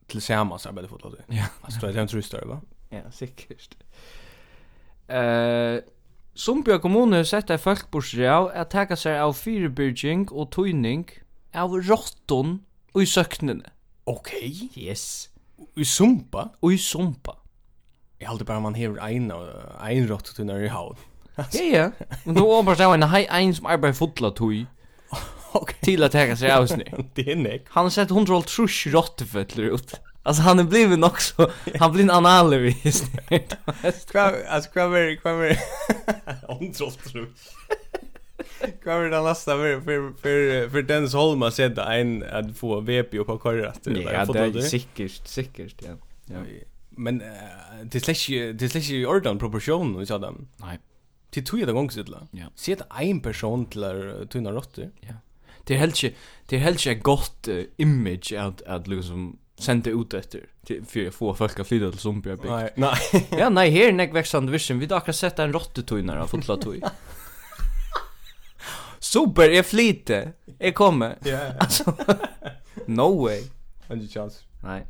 til samans arbeid fotla tøy.
Ja.
Altså det er en tru større, va?
Ja, sikkert. Eh, Sumpia kommune har sett ei folkbursdag at taka seg av fyrebyrging og tøyning av rotton i søknene.
Ok.
Yes.
I sumpa?
Og i sumpa.
Jeg halde bare man hever ein, og- ein rått tøy når i havn.
Ja, ja. Men då omar seg en hei ein som arbeider fotla tøy
Ok.
til at taka seg av snø.
Det er nek.
Han har sett 130 rotteføtler ut. Alltså han är blivit nog så han blir en analvis.
Kvar, alltså kvar är kvar är ontrolt. Kvar är den nästa för för för för Dennis Holm har sett en att få VP upp på korret.
er sikkert, sikkert, ja. ja.
er Men eh, det släcks ju det släcks ju ordan proportion och sådär.
Nej.
Till två er det gångs illa.
Ja.
Se att en person till eh, tunna råttor.
Det är helt inte det är helt inte gott eh, image att att liksom sända ut efter till för att få folk att flytta till Zombie Bay.
Nej, nej.
Ja, nej, här är näck växande vision. Vi har akkurat sett en råttetøynare av fotlatøy. Super, jag flyter. Jag kommer.
Ja.
No way.
En chans.
Nej,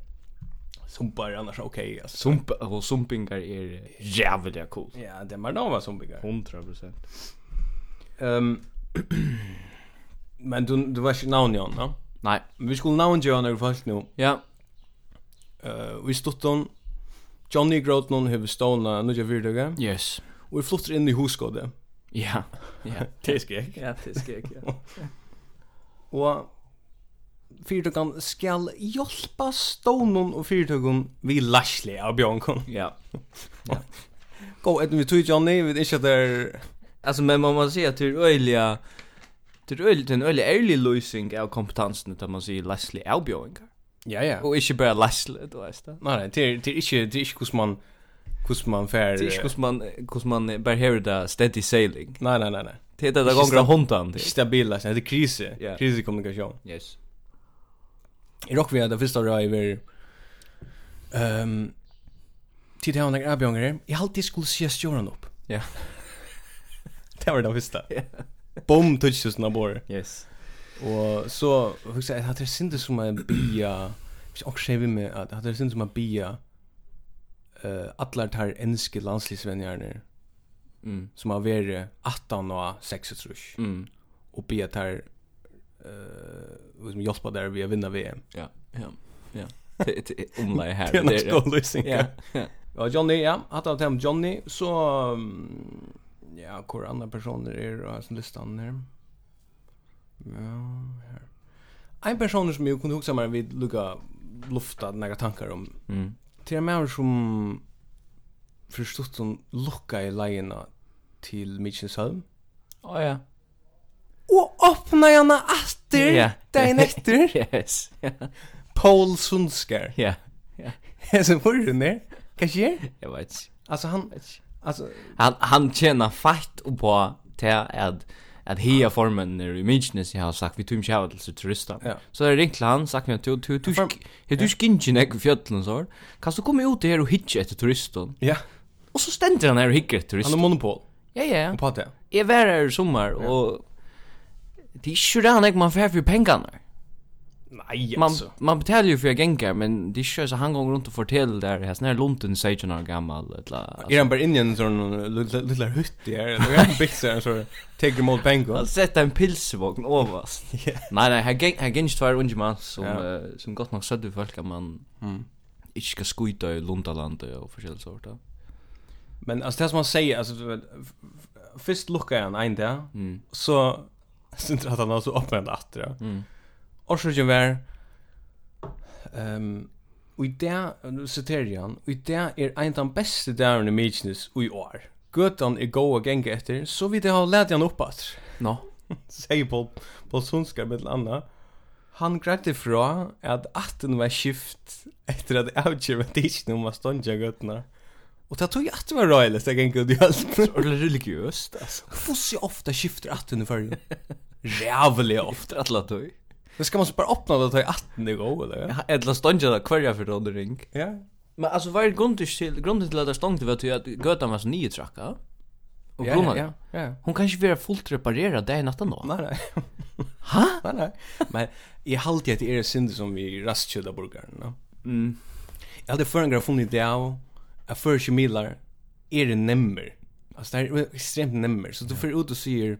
Som bara annars okej alltså.
sump och sumpingar är eh, jävligt cool.
Ja, det er var nog vad som begår.
100%.
Ehm Men du du var ju namn Jan, va?
Nej.
Vi skulle namn Jan när folk nu.
Ja,
Eh, vi stod hon Johnny Groton hevur stóna nú ja virðuga.
yes.
Og vi fluttir inn í húsgóði.
Ja. Ja.
Tesk ek.
Ja, det ska jag.
Og fyrtugan skal hjálpa stónun og fyrtugun við lasli av bjónkun.
Ja.
Go at við tui Johnny, við ikki at der
Alltså er- men man måste säga att det är öliga Det är öliga, en öliga ärlig lösning av kompetensen Utan man säger Leslie Albjoingar
Ja ja.
Och inte bara Leslie, du vet det
Nei, nei, til til ikki til ikki kuss man kuss man fer.
Det är inte hos man, hos man bara hör det steady sailing
Nei, nei, nei, nei.
Det är det där gånger av hundan
Ikki stabila, det er krise.
Ja.
Krise kommunikasjon.
Yes
I rock vi hade första röj över ehm tid han några abjongare. Jag alltid skulle se stjärnan upp.
Ja.
det var det första.
Ja.
Bom touches na bor.
Yes
Och så hugsa jag hade synd som en bia. Jag också skrev med att hade synd som en bia. Eh allar tar enske landslivsvänner
Mm.
som har vært 18 og 36
Mm.
och be att här eh liksom hjälpa där vi vinna VM.
Ja, ja, ja. Det det är omlai här.
Det är en
ja.
stor lösning.
Ja,
Ja.
ja.
Ja, Johnny, ja, att han hem Johnny så mm, ja, kor andra personer är och som listan här. Ja, här. En person som jag kunde huxa mig vid lukka lufta några tankar om
Mm.
Det er mer som förstått som lukka i lejerna till Mitchensholm.
Ja, ja.
Och öppna gärna atter
Ja.
dagen efter.
Yes. Ja.
Paul Sundskär.
Ja.
Alltså förrän är. Kanske
Jag vet. inte.
Alltså han... Alltså...
Han han tjänar fight och på till att att hia formen när i München jag har sagt vi tum shout till turister.
Ja.
Så det ringt han sagt mig till till till
Form-
till du skinchen ek fjällen så. Kan du komma ut här och hitcha efter turisten?
Ja.
Och så ständer han här och hickar efter
Han har
turisten.
monopol.
Ja ja.
På det.
Jag var här i sommar och det är ju det han ek man får för pengarna.
Nej
Man man betalar ju för gängar men er det är ju så han går runt och fortäller där här snär London säger några gammal eller
Är Er han bara inne i en eh, sån lilla hytt i här? Eller er han byggt sig en sån... Take remote bank
Han
och...
sätter en pilsvogn ovast. Nej nej, här gäng här gäng två unge man som
Ja.
eh, som gott nog södde folk att man
Mm.
inte ska skjuta i Lundaland och forskjelliga sorter.
Men alltså det som han säger, alltså... du vet, f- f- Först lukkar han en dag.
Mm.
Så... Sen tror jag att han har så öppnat atter. Ja.
Mm.
Och så gör vi ehm och i det nu citerar jag han, och i det är en av de bästa dagarna i Mykonos i år. er Götan är gå och gänga efter så vi det har lärt han upp att
Nå.
säger Paul Paul Sundskar med Anna. Han grædde fra at atten var skift etter at avgjøret var ikke noe man stod ikke gøttene. Og det tog jeg at det var røyelig, så jeg gikk ut i alt.
Eller religiöst alltså.
Fosse ofte skifter atten i fargen. Rævlig ofte.
Efter alla tog.
Det skal man så bare åpne det til atten i går, eller? Ja.
Eller ståndja där kvarja för då ring.
Ja.
Men er alltså var grundigt till grundigt till att det ståndte var till att götan var så nio tracka. Och
Ja,
blomma.
Ja, ja. ja.
Hon kanske vill fullt reparera det i natten då.
Nei, nei. Hæ? Nei, nei. Men jeg halte at det er synd som vi rastkjødda burgeren, no?
Mm.
Jeg hadde før en graf funnet det av at før ikke miler er det nemmer. Altså det er ekstremt nemmer. Så du får ut og sier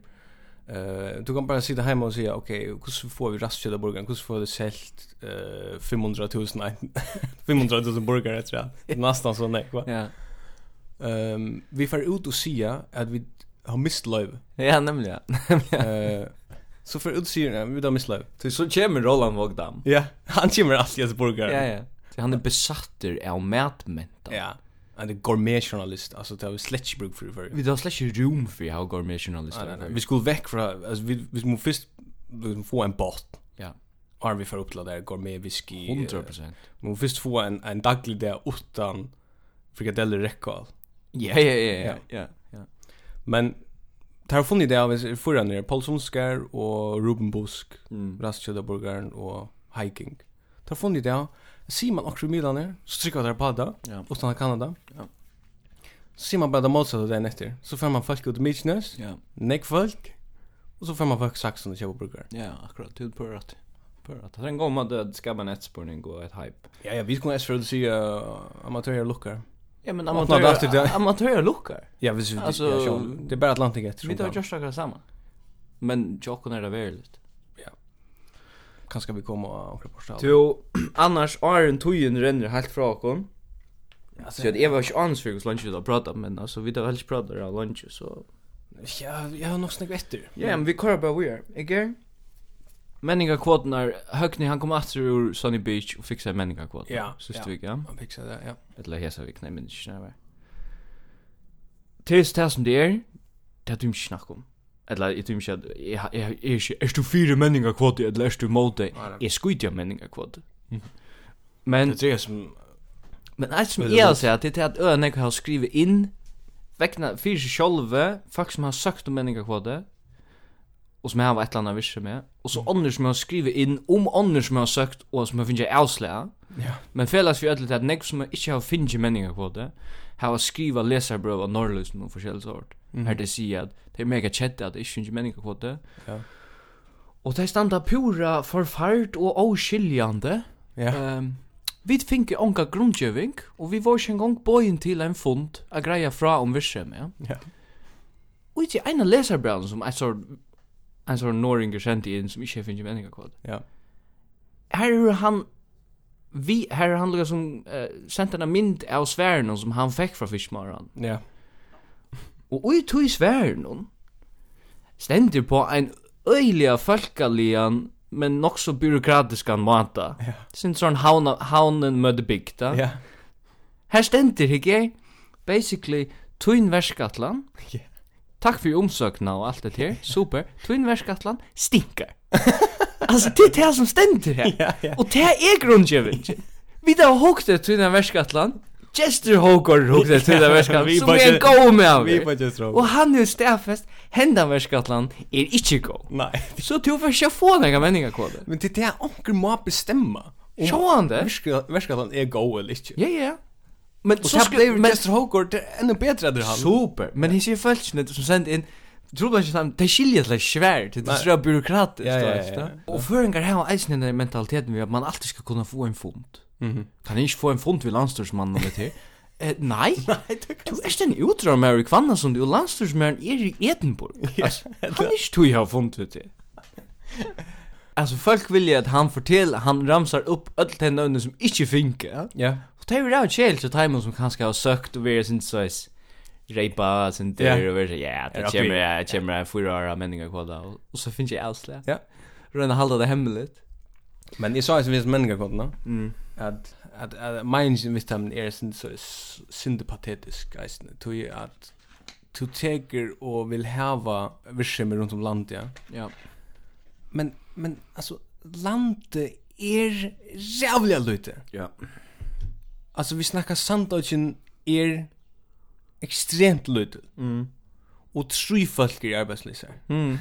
eh, du kan bare sitte hjemme og sier ok, hvordan får vi rastkjødda burgeren? Hvordan får vi det selt eh, 500 000, nei, 500 000 burgere, tror jeg. Det er Nesten sånn, nei, hva?
Ja.
Ehm, vi får ut og sier at vi har mist løyve.
Ja, nämligen.
Eh, så för ut sier han, vi har mist løyve.
Så kommer Roland Vogdam.
Ja, han kommer alltid att burgare.
Ja ja. Så Han är besatter av mätmenta.
Ja. Han är gourmetjournalist, alltså det har vi slett bruk för för.
Vi har slash room för jag går med journalister.
Nej, nej, nej. Vi skulle väck från alltså vi vi måste först liksom, få en bot.
Ja.
Har vi för uppla där gourmet whisky. eh,
100%.
Vi måste först få en en daglig där utan frikadeller räkal.
Ja, ja, ja, ja, ja.
Men tar har funnit det av förra nere Paul Sundskär och Ruben Busk,
Mm.
Rastkjödaburgaren och Hiking. Tar har funnit det av Simon också i Milaner, så trycker jag där på det.
Ja.
utan Kanada.
Ja.
Så ser man bara det motsatta dagen efter. Så får man folk ut i Mykonos,
Ja,
näck folk. Och så får man folk saxen och köpa burgare.
ja, akkurat. Du på rätt. På rätt. Den går man död ska man ett spårning och ett hype.
Ja, ja, vi skulle ens för att se uh, amatörer luckar.
Ja, men
Åpna dörr till det.
amatörer amatörer lookar.
Ja, vi ser
Alltså-
ja, sjå, det är bara Atlantic efter.
Vi tar just några samma. Men Jocko är det väl.
Kanske vi kommer och åker på stall.
Jo, annars är en tojen renner helt fra kon.
Alltså,
Så jag var ju ans för lunch då prata men alltså vi tar helst prata av lunch så.
Ja, jag har nog snägg efter.
Ja, men vi kör bara er vi är. Igår. Männinga kvoten är Högni han kom åter ur Sunny Beach och fixade männinga kvoten.
Ja,
Sist
ja.
veckan.
Man fixar det, ja.
Eller hesa vik, nei, men ikke snarver. Til det som det er, det er du ikke snakk om. Eller, jeg tror ikke at, jeg, jeg, jeg er ikke, er du fire menninger kvote, eller er du måte? Jeg skuiter av menninger kvote. Men,
Det är det som...
men alt som
Men det
jeg
er
har sett, det er at øen jeg har skrivet inn, vekna fyrir seg sjolve, folk som har søkt om menninger kvote, um og som jeg har et eller annet virse med, og
Mm.
så ånder som jeg har skrivet inn um om ånder som jeg har søkt, og som jeg finner ikke avslega,
Ja.
Men fellas vi öll til at nekv som ikkje har finnje menningar på det, hava skriva leserbrøv av norrlusen og forskjellig sort.
Mhm.
um Her det sier at det er mega kjette at det ikkje finnje menningar på det.
Ja.
Og det standa pura forfært og avskiljande.
Ja.
Um, vi finke onka grundgjøving, og vi var ikke engang bøyen til en fond a greia fra om virksem, um ja.
Ja.
Och inte ena läsarbrev som jag såg en sån norringer sent in som inte finns i meningen kvad.
Ja.
Här är han vi här är han lukar som uh, sent en mynd av svären som han fick från fiskmaran.
Ja.
Og i tog sværen stendur på ein øyliga folkalian, men nok så byråkratiskan mata. Ja. Sin sånn hauna, haunen mødde bygda.
Ja.
Her stendur ikke, basically, tuin verskatlan.
Ja.
Takk fyrir omsøkna og alt det her, super. Tuin verskatlan stinkar. altså, det er det som stendur her.
Ja, ja.
Og det er grunnkjøving. Vi da hukte tuin verskatlan, Jester Hogor hukte tuin verskatlan,
Vi
som
bare-
er en god med av.
Vi bara tror.
Og han er stafest, hendan verskatlan er ikkje god.
Nej.
Så du får ikke få nega menningakode.
Men er det är onkel må bestämma.
Sjå han det?
Värskatan är go eller inte.
Ja, ja. Men
Och
så
så
skulle...
blev
Men,
Chester Hogard ännu bättre där han.
super. Men hins er følelsene som sendt inn, Tror du ikke sammen, det skiljer til svært, det er så byråkratisk,
Ja,
du
ja,
vet,
ja, ja.
da. Og føringar her og eisen denne mentaliteten vi at man alltid skal kunne få en fond.
Mhm.
Kan jeg ikke få en fond ved landstyrsmannen og det her? Eh, nei, du er ikke en utdramer i kvanna som du, og landstyrsmannen er i Edinburgh. Altså, han er ikke tog jeg har fond ved det. Altså, folk vilja at han fortel, han ramsar upp öll de nøvne som ikke finke.
Ja.
Og det er jo rævd kjell til timen som kanskje har søkt og vært sin såis reipa sin der
Ja.
og vært sånn, ja, det
Er det
kommer
oppi?
jeg, det kommer jeg fyra år av menninger kvalda. Og og så finnes jeg avslag.
Ja.
Rønne halda det er hemmeligt.
Men jag sa ju som vi människa kunde.
Mm.
Att att att minds med dem är sin så sympatetisk geist. Du ju att du teker och vill hava visioner runt om landet. Ja.
Ja.
Men men er alltså landet är jävla lite.
Ja.
Alltså vi snackar Sandodgen är extremt lite. Mm. Och tre folk är arbetslösa.
Mm.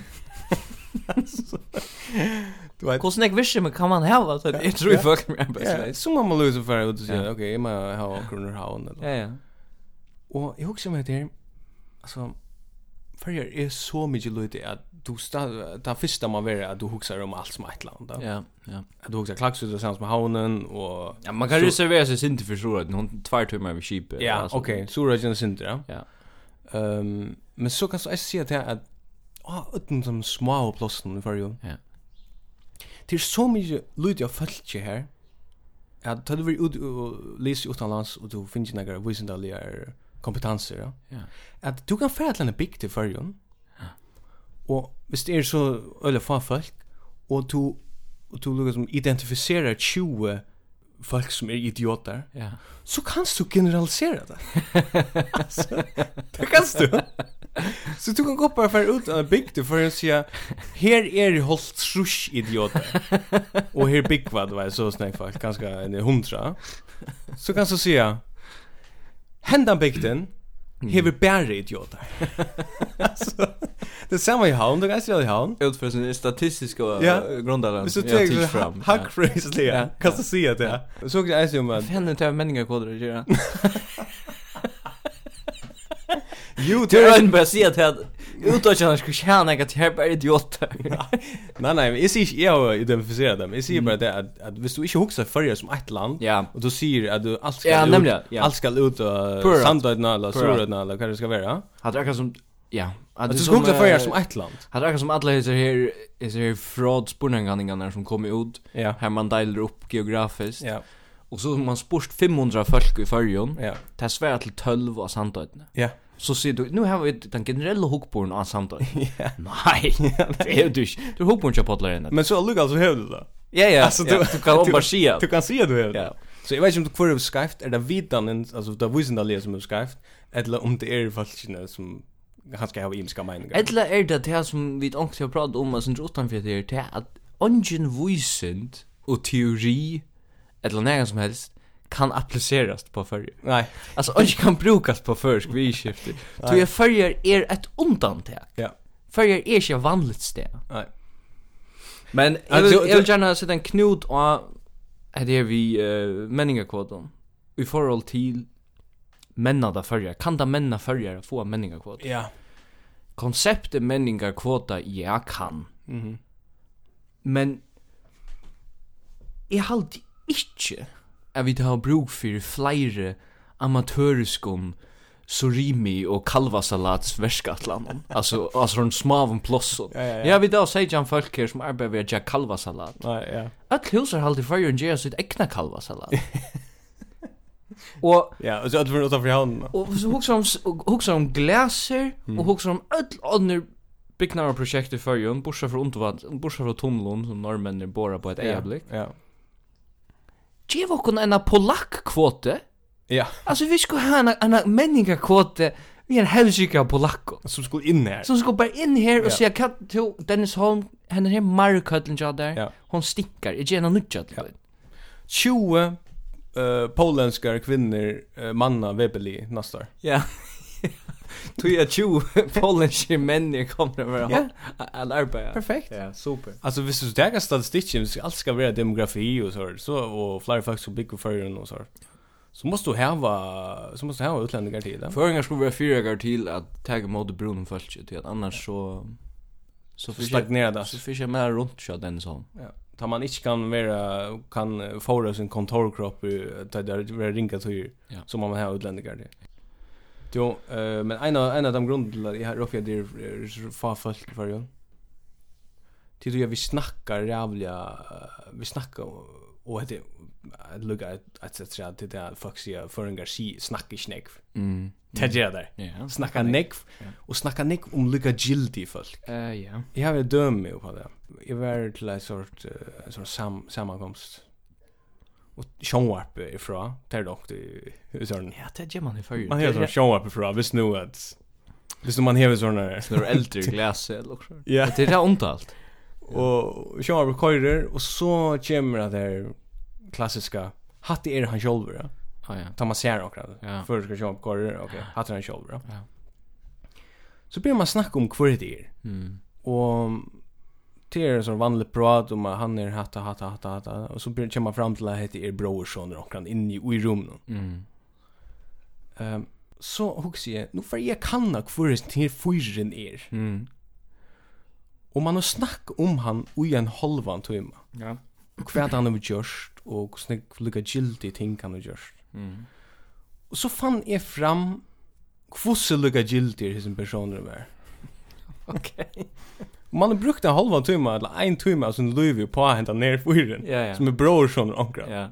Du vet.
Hvordan jeg visste, men kan man hava? Så Jeg tror jeg fuck meg
Ja,
arbeidsleis.
så man må lösa för att säga
Ja.
okej, jag måste ha kronor haun eller.
Ja, ja.
Og jeg husker meg til, altså, fyrir er så mykje løyti at du stad, det fyrsta må være at du husker om alt som er et eller annet.
Ja, ja.
At du husker klaksut og sammen med havnen, og...
Ja, man kan
Så-
reservera sig sin till försorad. Hon tvär tummar över kipet.
Ja,
alltså.
ok, Surajin og Sindri, ja.
Ja.
Ehm, men så kan jeg si til at, ah, utan som små og plåsten i fyrir.
Ja.
Det er så mykje løyti av fölkje her, at tar du vil ut og lese utanlands, og du finner ikke nægare visendalige kompetanser, ja.
Ja.
at du kan færa til en bygd i fyrjun, og hvis det er så øyla fa folk, og du, og du lukkar som identifiserer 20 folk som er idioter,
Ja.
så kan du generalisera det. altså, det kan du. Så du kan gå bare færa ut av en bygd i fyrjun og sige, her er det holdt trush idioter, og her byggva, det var så snakk folk, ganske en hundra, så kan du sige, hendan bygden,
Mm.
hever bære idioter. altså, det samme i havn, du kan ikke gjøre det i havn.
Utför sin statistiska
Ja.
grundaren.
Hvis du
Ja,
tenker
tids
så
fram. Ja.
hackphrase
Ja,
det, kan du si at det. Så kan jeg si om at,
Vad händer inte av männingakoder att göra?
jo,
Du
det
har
er
inte börjat se att jag utåtjärna skulle tjäna att jag bara idioter.
Nei, nei, men jeg sier ikke, jeg har identifiseret dem. Jeg sier bare det at, at hvis du ikke husker førre som et land,
Mm. Ja.
og du sier at du alt skal
Ja,
ut,
nemlig, ja.
alt skal ut av
Pura.
Sandøyna eller
Pura.
Surøyna eller hva det skal være.
Hade jag som ja,
At du skal huske førre som ett land.
eh, Hade jag som alla heter här är så här fraud spurnanganingarna som kommer ut
Ja,
här man delar upp geografiskt.
ja,
Och så har man spurt 500 folk i förjon.
ja,
Det är svärt till 12 av samtidigt.
ja.
Så ser du, nu har vi den generella hookborn av samtidigt. Nej, det är du inte. Du har hookborn till pottlaren.
Men så lukk altså hevde det da.
Ja, ja,
Alltså,
ja,
du-
du kan bara se.
Du kan si at du hevde det.
Ja.
Så jeg vet ikke om det kvar er skyft, er det vitanen, altså det er visendalige som er skyft, eller om det er falskene som han skal ha imiska meninger.
Ella er det det som vi ångt har pratat om att sindra utanför det är det att ungen vysend och teori eller nägan som helst kan appliceras på färger.
Nei,
Alltså ungen kan brukas på färsk vid skiftet. Så jag färger är ett undantag.
ja,
Färger är inte er vanligt steg.
nei.
Men jag
Alltså,
vill, jag vill
du-
gärna sätta en knut av är det vi uh, männingakoden. Vi får all till mennada färger. Kan da menna färger att få männingakoden?
Ja,
konceptet menningar kvota ja kan.
Mhm.
Men jeg halt ikkje at vi har bruk for flere amatøriskum surimi och kalvasalats värskatlan. Alltså alltså de små av plåsson.
Ja, ja, ja.
Ja, vi då säger jag folk här som arbetar vid att göra kalvasalat.
Nei, ja.
Öll hus har alltid för att göra um sitt egna kalvasalat. och
Ja, og så at vi utanfor havnen.
och så huxar om huxar om glaser och huxar om öll andra byggnader projekt i förjun, borsa från Ontvad, borsa från Tomlund som norrmännen borrar på ett ögonblick.
Ja.
Ge våkon en polack kvote.
Ja,
Alltså vi skulle ha en en människa kvote. Vi er är en helsika polacko.
som skulle inn her.
Så hon ska bara in här
Ja.
och säga katt till Dennis Holm, henne här Markötlen jag där.
Ja.
Hon stickar, är gärna nutjat.
Ja. 20 uh, pollenskar kvinner uh, manna vebeli nästa år.
Ja. Tog jag tjo, pollenske män kommer över
Ja.
all arbeta.
Perfekt.
Ja, super.
Alltså visst du tar statistiken, så allt ska vara demografi och så här, så och fler folk som bygger förrän och så. här. Så måste du häva så måste du häva utlänningar till det.
Föringar skulle vara fyra gånger till att tagga mot brunnen först till att annars så så
Så
fick jag
stagnerar det.
så fick jag med runt så Dennis Holm.
Ta man inte kan vara kan föra eh, sin kontorkropp i- ta där vara ringa till
Ja.
så man har utlänningar till. Jo, eh men en av en av de grunderna jag har uppe där för folk för ju. Till då vi snackar jävla eh, vi snackar och det lugga att att säga till det folk säger för en garci snackar snägg.
Mm.
Tadja där.
Ja.
Snacka neck och snacka neck om lugga um gildi folk.
Eh ja.
Jag har dömt mig på det. Jag var till en sort, eh, en sort sam sammankomst. Och Sjönvarp är ifrån. Det är dock det är sån.
Ja, det gör man i förr.
Man har sån Sjönvarp ifrån. Visst nu att... Visst nu man har såna...
När du äldre glas eller också.
Ja.
Det är det ontalt.
Och Sjönvarp körer. Och så kommer det här klassiska... Hatt är han själv. Ja.
Ja ja.
Ta man ser också.
Ja.
Förr ska Sjönvarp körer. Okej, hatt är han själv. Ja.
Ja.
Så börjar man snacka om hur det är.
Mm.
Og det er en sånn vanlig prat om at han er hatta, hatta, hatta, hatta. Og så blir- kommer man fram til at hette er brorsson og han inne i, i rummet.
Mm.
Um, så hugsi jeg, nå får jeg kanna hvor det her fyren er.
Mm.
Og man har snakk om han ui en halvan tøyma.
Ja.
Og hva han har gjørst, og hvordan jeg lukka gildi ting han har gjørst.
Mm.
Og så fann jeg fram hvordan lukka gildi er hos en personer var.
Okej.
Man har brukt en halvan tøyma, eller en tøyma, av sin løyvi på å henta ned fyren.
Ja ja.
Som er brorsson og onkran.
Ja.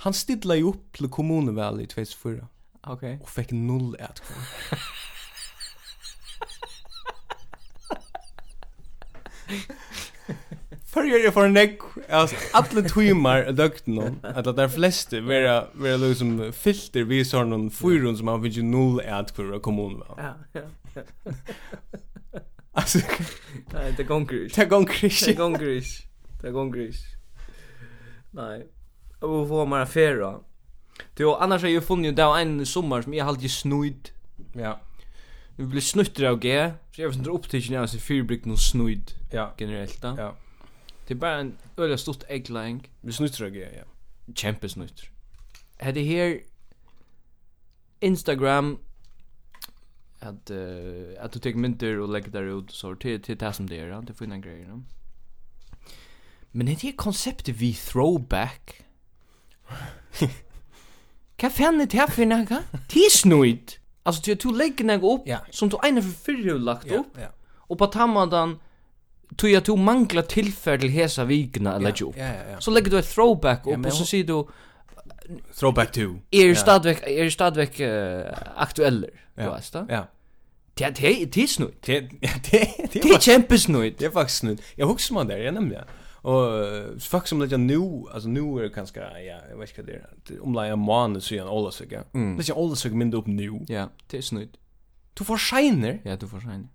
Han stilla ju upp till kommunval i 2004
Okej.
och fick noll ett kvar. Förr jag för neck alltså alla timmar dökt någon att de flesta vera vera liksom filter vi så någon fyrun som har ju noll ett kvar av kommunval.
Ja. ja.
Alltså
Nej, det går gris.
ta gång
Det
krish.
går gris. Det går gris. Nej. Och vad man affär då? Jo, annars har jag funnit där en sommar som jag har alltid snuid.
Ja.
Vi blir snutter av G. Så jag vet inte upp till när så fyrbrygg någon snuid
Ja.
generellt då.
Ja.
Det är er bara en öliga stort ägglang.
Vi snutrar jag ja.
Kämpe snutter. Är det här er Instagram att uh, att du tar mynter och lägger där ut och så till till det som det är, ja, det finna grejer. ja. Men är det här konceptet vi throwback? Kan fan er inte här för några? er Tisnuit. Alltså du du lägger något upp
Ja.
som du ena för förr har lagt upp
Ja.
och på tammadan tog jag tog mangla tillfälle till hesa vikna eller jo.
Ja ja ja.
Så lägger du ett throwback
Ja,
upp
men
och så
hon-
säger du
Throwback to.
är
Ja.
ju stadväck är ju stadväck er eh, aktueller du er
Ja.
vet då.
Ja.
Det är- det är- det är snut.
Det det er
Det är kämpesnut.
Det är faktiskt snudd. Jag huxar man där, jag nämnde det. Och eh, faktiskt som lägger nu, alltså nu är det ganska, ja, jag vet inte vad det är. Det är Omlai en månad så är en Olasök, ja.
Mm.
Det er är en Olasök mindre upp nu.
Ja, det är snut.
Du får shiner.
Ja, du får sen.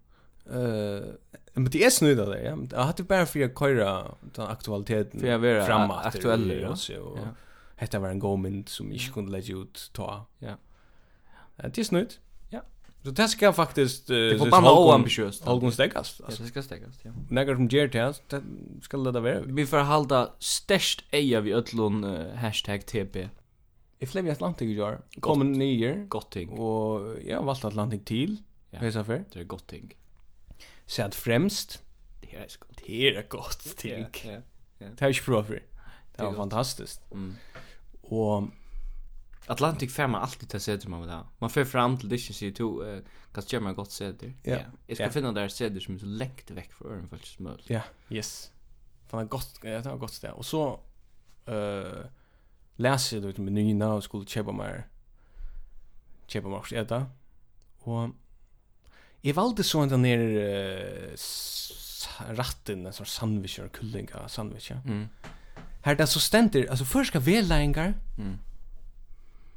Eh, men det är snudd av det, ja. Jag hade bara för att köra den aktualiteten
För jag vara
framåt.
aktuell,
ja.
ja.
Och
Ja.
detta var en god mynd som jag inte kunde lägga ut ta.
Ja.
Ja, Det är snudd.
Ja.
Så det ska faktiskt... eh,
Det er
så
får bara
Holgun-
oambitiöst. Ja,
Holgun stäckas. Alltså,
det ska stäckas, ja.
när som ger det, här, det ska det vara.
Vi får halda störst eja vi öllon eh, hashtag #tb.
Jeg flev i Atlantik i går. Kom en nyer.
Gott ting.
Og jeg har valgt Atlantik til.
Ja.
Ja. Hesa fer.
Det är gott ting.
Sæt fremst.
Det här är så gott.
Det er et godt ting.
Ja,
Det
ja.
har jeg ikke prøvd før. Det
er
var
godt.
fantastisk.
Mm.
Og
Atlantic fer man alltid til sæder man vil ha. Man fer fram til disken sier to, eh, kan gjøre meg godt sæder.
Ja.
Jeg skal
Ja.
finne der sæder som er så lengt vekk fra øren faktisk som mulig.
Ja, yes. Fan det gott, det var gott sted. Och så eh um läser jag ut menyerna och skulle köpa mer köpa mer äta. Och jag valde så en där uh, ratten en sån sandwich eller kullinga er sandwich. Ja.
Mm.
Här där så ständer alltså först ska väläingar.
Mm.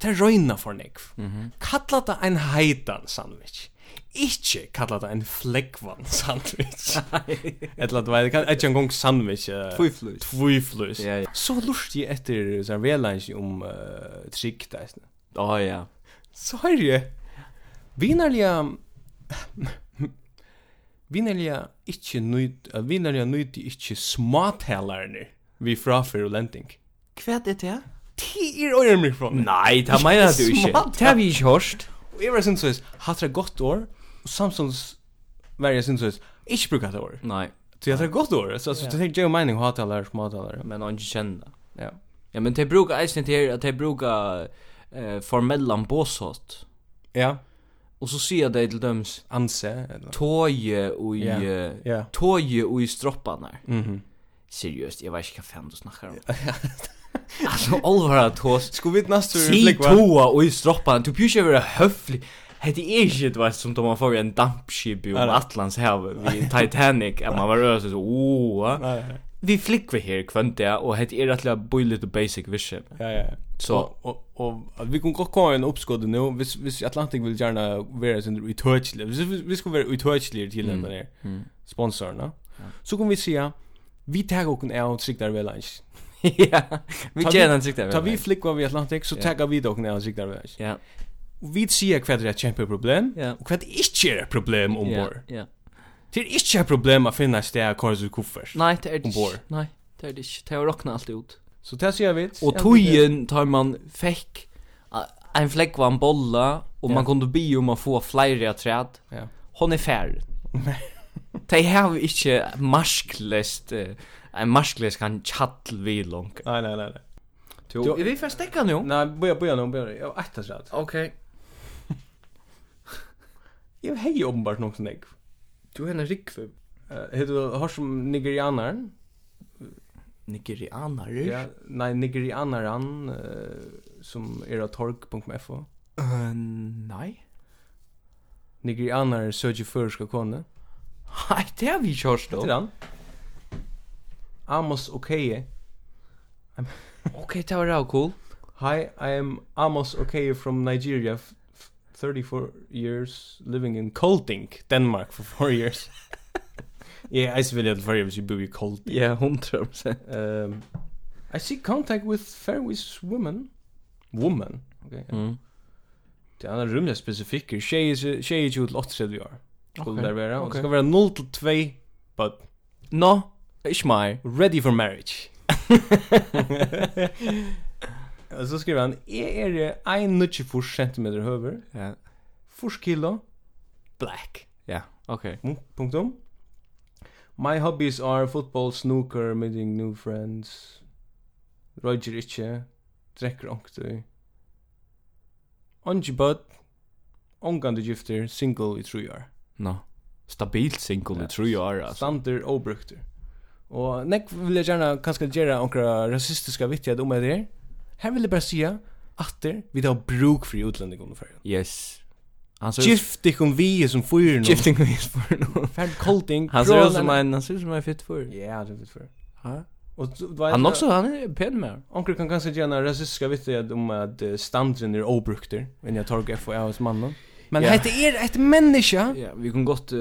Det röjna för nek.
Mhm.
Kalla det en heitan sandwich. Ikke kalla det en flekkvann sandwich. Eller at du vet, det kan ikke engang sandwich. eh,
Tviflus.
Tviflus.
Ja, ja.
Så lurt jeg etter sånn velansk om uh, trygg der.
Å ja.
Så har jeg vinnerlige vinnerlige ikke nøyd uh, vinnerlige nøyd ikke småtalerne vi frafer og lenting.
Hva er det?
Ti er øyre mig fra meg.
Nei, det mener du ikke.
Smart.
Det har vi ikke hørt.
Og jeg var sin sånn, hatt det godt år, og samstånds var jeg sin sånn, ikke bruker det år.
Nei,
Så jeg hatt det godt år, så altså, det tenker jeg jo mening å ha talere, småtalere.
men han kjenner det.
Ja.
Ja, men de brukar eisen til at de brukar eh, formellan båsått.
Ja,
Og så sier de til døms
anse, eller?
tåje og i...
Ja, Ja.
Tåje og i stropparna.
Mhm.
Seriøst, jeg vet ikke hva fan du snakker om. altså, alvara tås.
Skulle vi nästa
Si toa og i stropparna. Du bør ikke være høflig. Hette er ikke, du vet, som da man får en dampskip i
Nei, nei.
Atlantshavet, vi Titanic, at man var rød, så, åh, vi flikker her kvendt det, og hette er rettelig boi litt basic vision.
Ja, ja.
Så,
och och vi kan godt komma en uppskåd nu. Hvis hvis Atlantic vill gärna vara sin uttouchlig. Hvis vi, vi ska vara uttouchlig till den där
mm.
sponsorerna. Så kan vi säga vi tar och en out sig där väl lunch.
ja, vi
Ta vi-
kjenner han sikta.
Tar vi flick vad vi Atlantic så
Ja.
tar vi dock en out sig där väl. lunch.
Ja,
Vi ser kvad det är ett kämpe problem
ja.
och kvad inte är ett er problem um ombord.
Ja, ja.
Det är inte ett er problem att finna städer kvar så kuffers.
Nei, det er det
Ombord.
ikke. Nei, det er det ikke. Det har råknet alltid ut. er
Så det ser vi.
Og tøyen tar man fekk a- en flekk var en bolla, og man
Ja.
kunne bi om å få flere av træd.
Ja.
Hon er færd. De har ikke marsklest, eh, en marsklest kan tjattel vi langt.
Nej nej nej. nej.
Jo, er vi får stekka nå.
Nej, börja börja nu börja. Jag har ett rätt.
Ok,
Jag hej uppenbart någon snägg.
du er en rikve.
Eh, Heter du har som nigerianer?
Nigerianer.
Ja, nej nigerianaren eh, som är av tork.fo.
Eh, nei.
Nigerianer söker förska kone.
Nei, det har vi kjørst
Heter
da.
han? Amos Okeye.
Ok, det var rau cool.
Hi, I am Amos Okeye from Nigeria. f- f- 34 years living in Kolting, Denmark for 4 years. yeah, I will at very much be cold.
Ja, hundra prosent.
Um, I see contact with Faroese woman. Woman. Okay.
Mm.
Det är en rymliga specifiker. Tjej är ju till 8-3 år. Skulle
Okej,
där vara. Och det
okej.
ska vara 0 till 2. But
Nå, ikke meg.
ready for marriage. Och så skriver han. "Er Jag är 1,94 cm höver.
Ja,
4 kilo. Black.
ja, ok.
Mm, Punktum. My hobbies are football, snooker, meeting new friends. Roger Itche. Drekker onktu. Ongi bud. Ongandi gifter, single i tru år.
Nå. Stabilt single i tre år, altså.
Stander og brukter. Og nek vil jeg gjerne kanskje gjøre noen rasistiske vittighet om det her. um Her vil jeg bare si at vi har bruk for utlending under ferien.
Yes. Han ser ut
Gift ikon vi som fyrer nå.
gifting is for no.
Ferd kolding.
Han ser ut som en han ser ut som en fit for.
Ja, det vet for.
Ha?
er Og du vet...
Han också han är pen med.
Onkel kan kanskje gjerne rasistiske vittighet om at eh, standren er obrukter. Men jeg tar ikke FOA hos mannen. Men
Ja.
hette er et menneske.
Ja, vi kan gott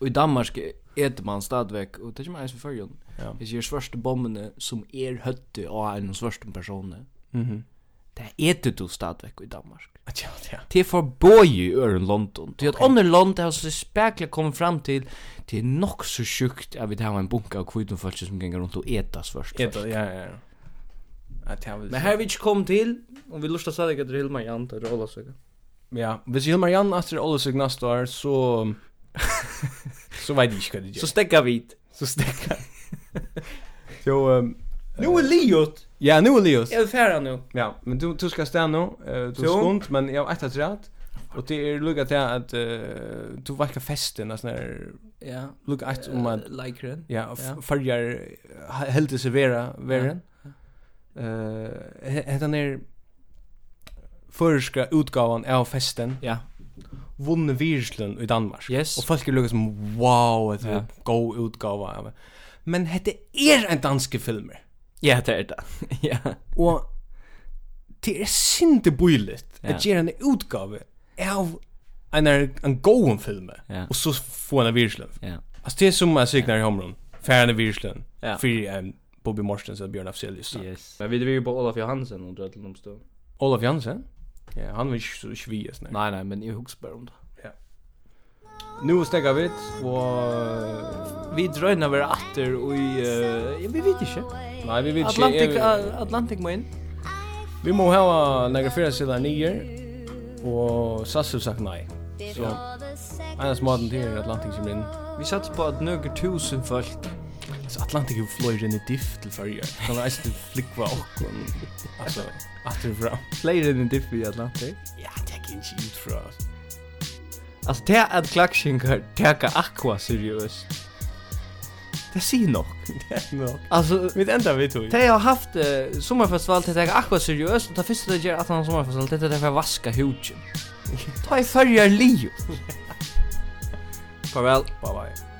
Och i Danmark äter man stadväck och det är ju mer för jön.
Ja.
Det är ju svarta bomberna som är hötte av en svarta person.
Mhm.
Det äter du stadväck i Danmark.
Ja, ja.
Det är förboje i ören London. Det är ett annat land där så spekla kommer fram till det är nog så sjukt att vi tar en bunka av kvinnor först som gänger runt och äta svörst.
Ja, ja, ja. Ja, det er vel-
Men här vi inte kom till, om vi lustar stadig att drilla mig an, det är alla söka.
Ja, hvis Hilmar Jan etter alle seg neste år, så... så vet jeg ikke hva det
Så
gjør.
stäcka vit.
Så stekker jeg. Jo, um,
Nu är er Liot!
Ja, nu är Leos.
Jag vill färra nu.
Ja, men du du ska stanna nu. Eh, Du
Jo.
är stund, men jag har ett att rätt. Och det er är lugga till att eh, du verkar festen och sådär.
Ja.
Lugga ett om att
Like den.
Eh, ja, f-
ja.
följer helt servera värren. Eh, hetan är förska utgåvan av festen.
Ja.
Vunnen Virslund i Danmark.
Yes.
Och folk är lugga som wow, er det är
Ja.
ja. god utgåva av. Men er hette är en danske filmer.
Ja, det är det. Ja.
Og det er sinte bøyligt
Ja.
at gjøre en utgave av en, en god film,
Ja.
og så få en virsløn.
Ja.
Altså det er som jeg signar i homron, færre en virsløn,
Ja.
fyrir um, Bobby Morstens og Bjørn Afselius.
Yes. Men vi det ju på Olaf Johansen och Dretel Nomstö.
Olaf Jansen, ja, er han var ikke så svies, nei.
Nej, nej, men jag hooks bara om det.
Nu stegar vi, og
Vi dröjnar vara åter och i eh, ja, vi vet inte.
Nei, vi vet ikke.
Atlantic
er-
eh, Atlantic main.
Vi må hava nægra fyrir sida nýr, og Sassu sagt nei. Så, annars maten til er Atlantik som inn.
Vi satt på att några tusen folk.
Så Atlantic er fløyre inn i diff til fyrje. Han er eist til flikva okkon. Altså, atter fra.
Fler än en diff i Atlantic.
Ja, det er ikke ut fra.
Alltså det att klackshinkar täcka aqua seriöst. Det ser nog.
Nok.
Alltså
Mitt enda vi tog.
De har haft uh, sommarfestival til å teka akkurat seriøst, og det første de gjør at han har sommarfestival til å teka for å vaske hudgen. Ta i fyrjar liv. Farvel.
Bye bye.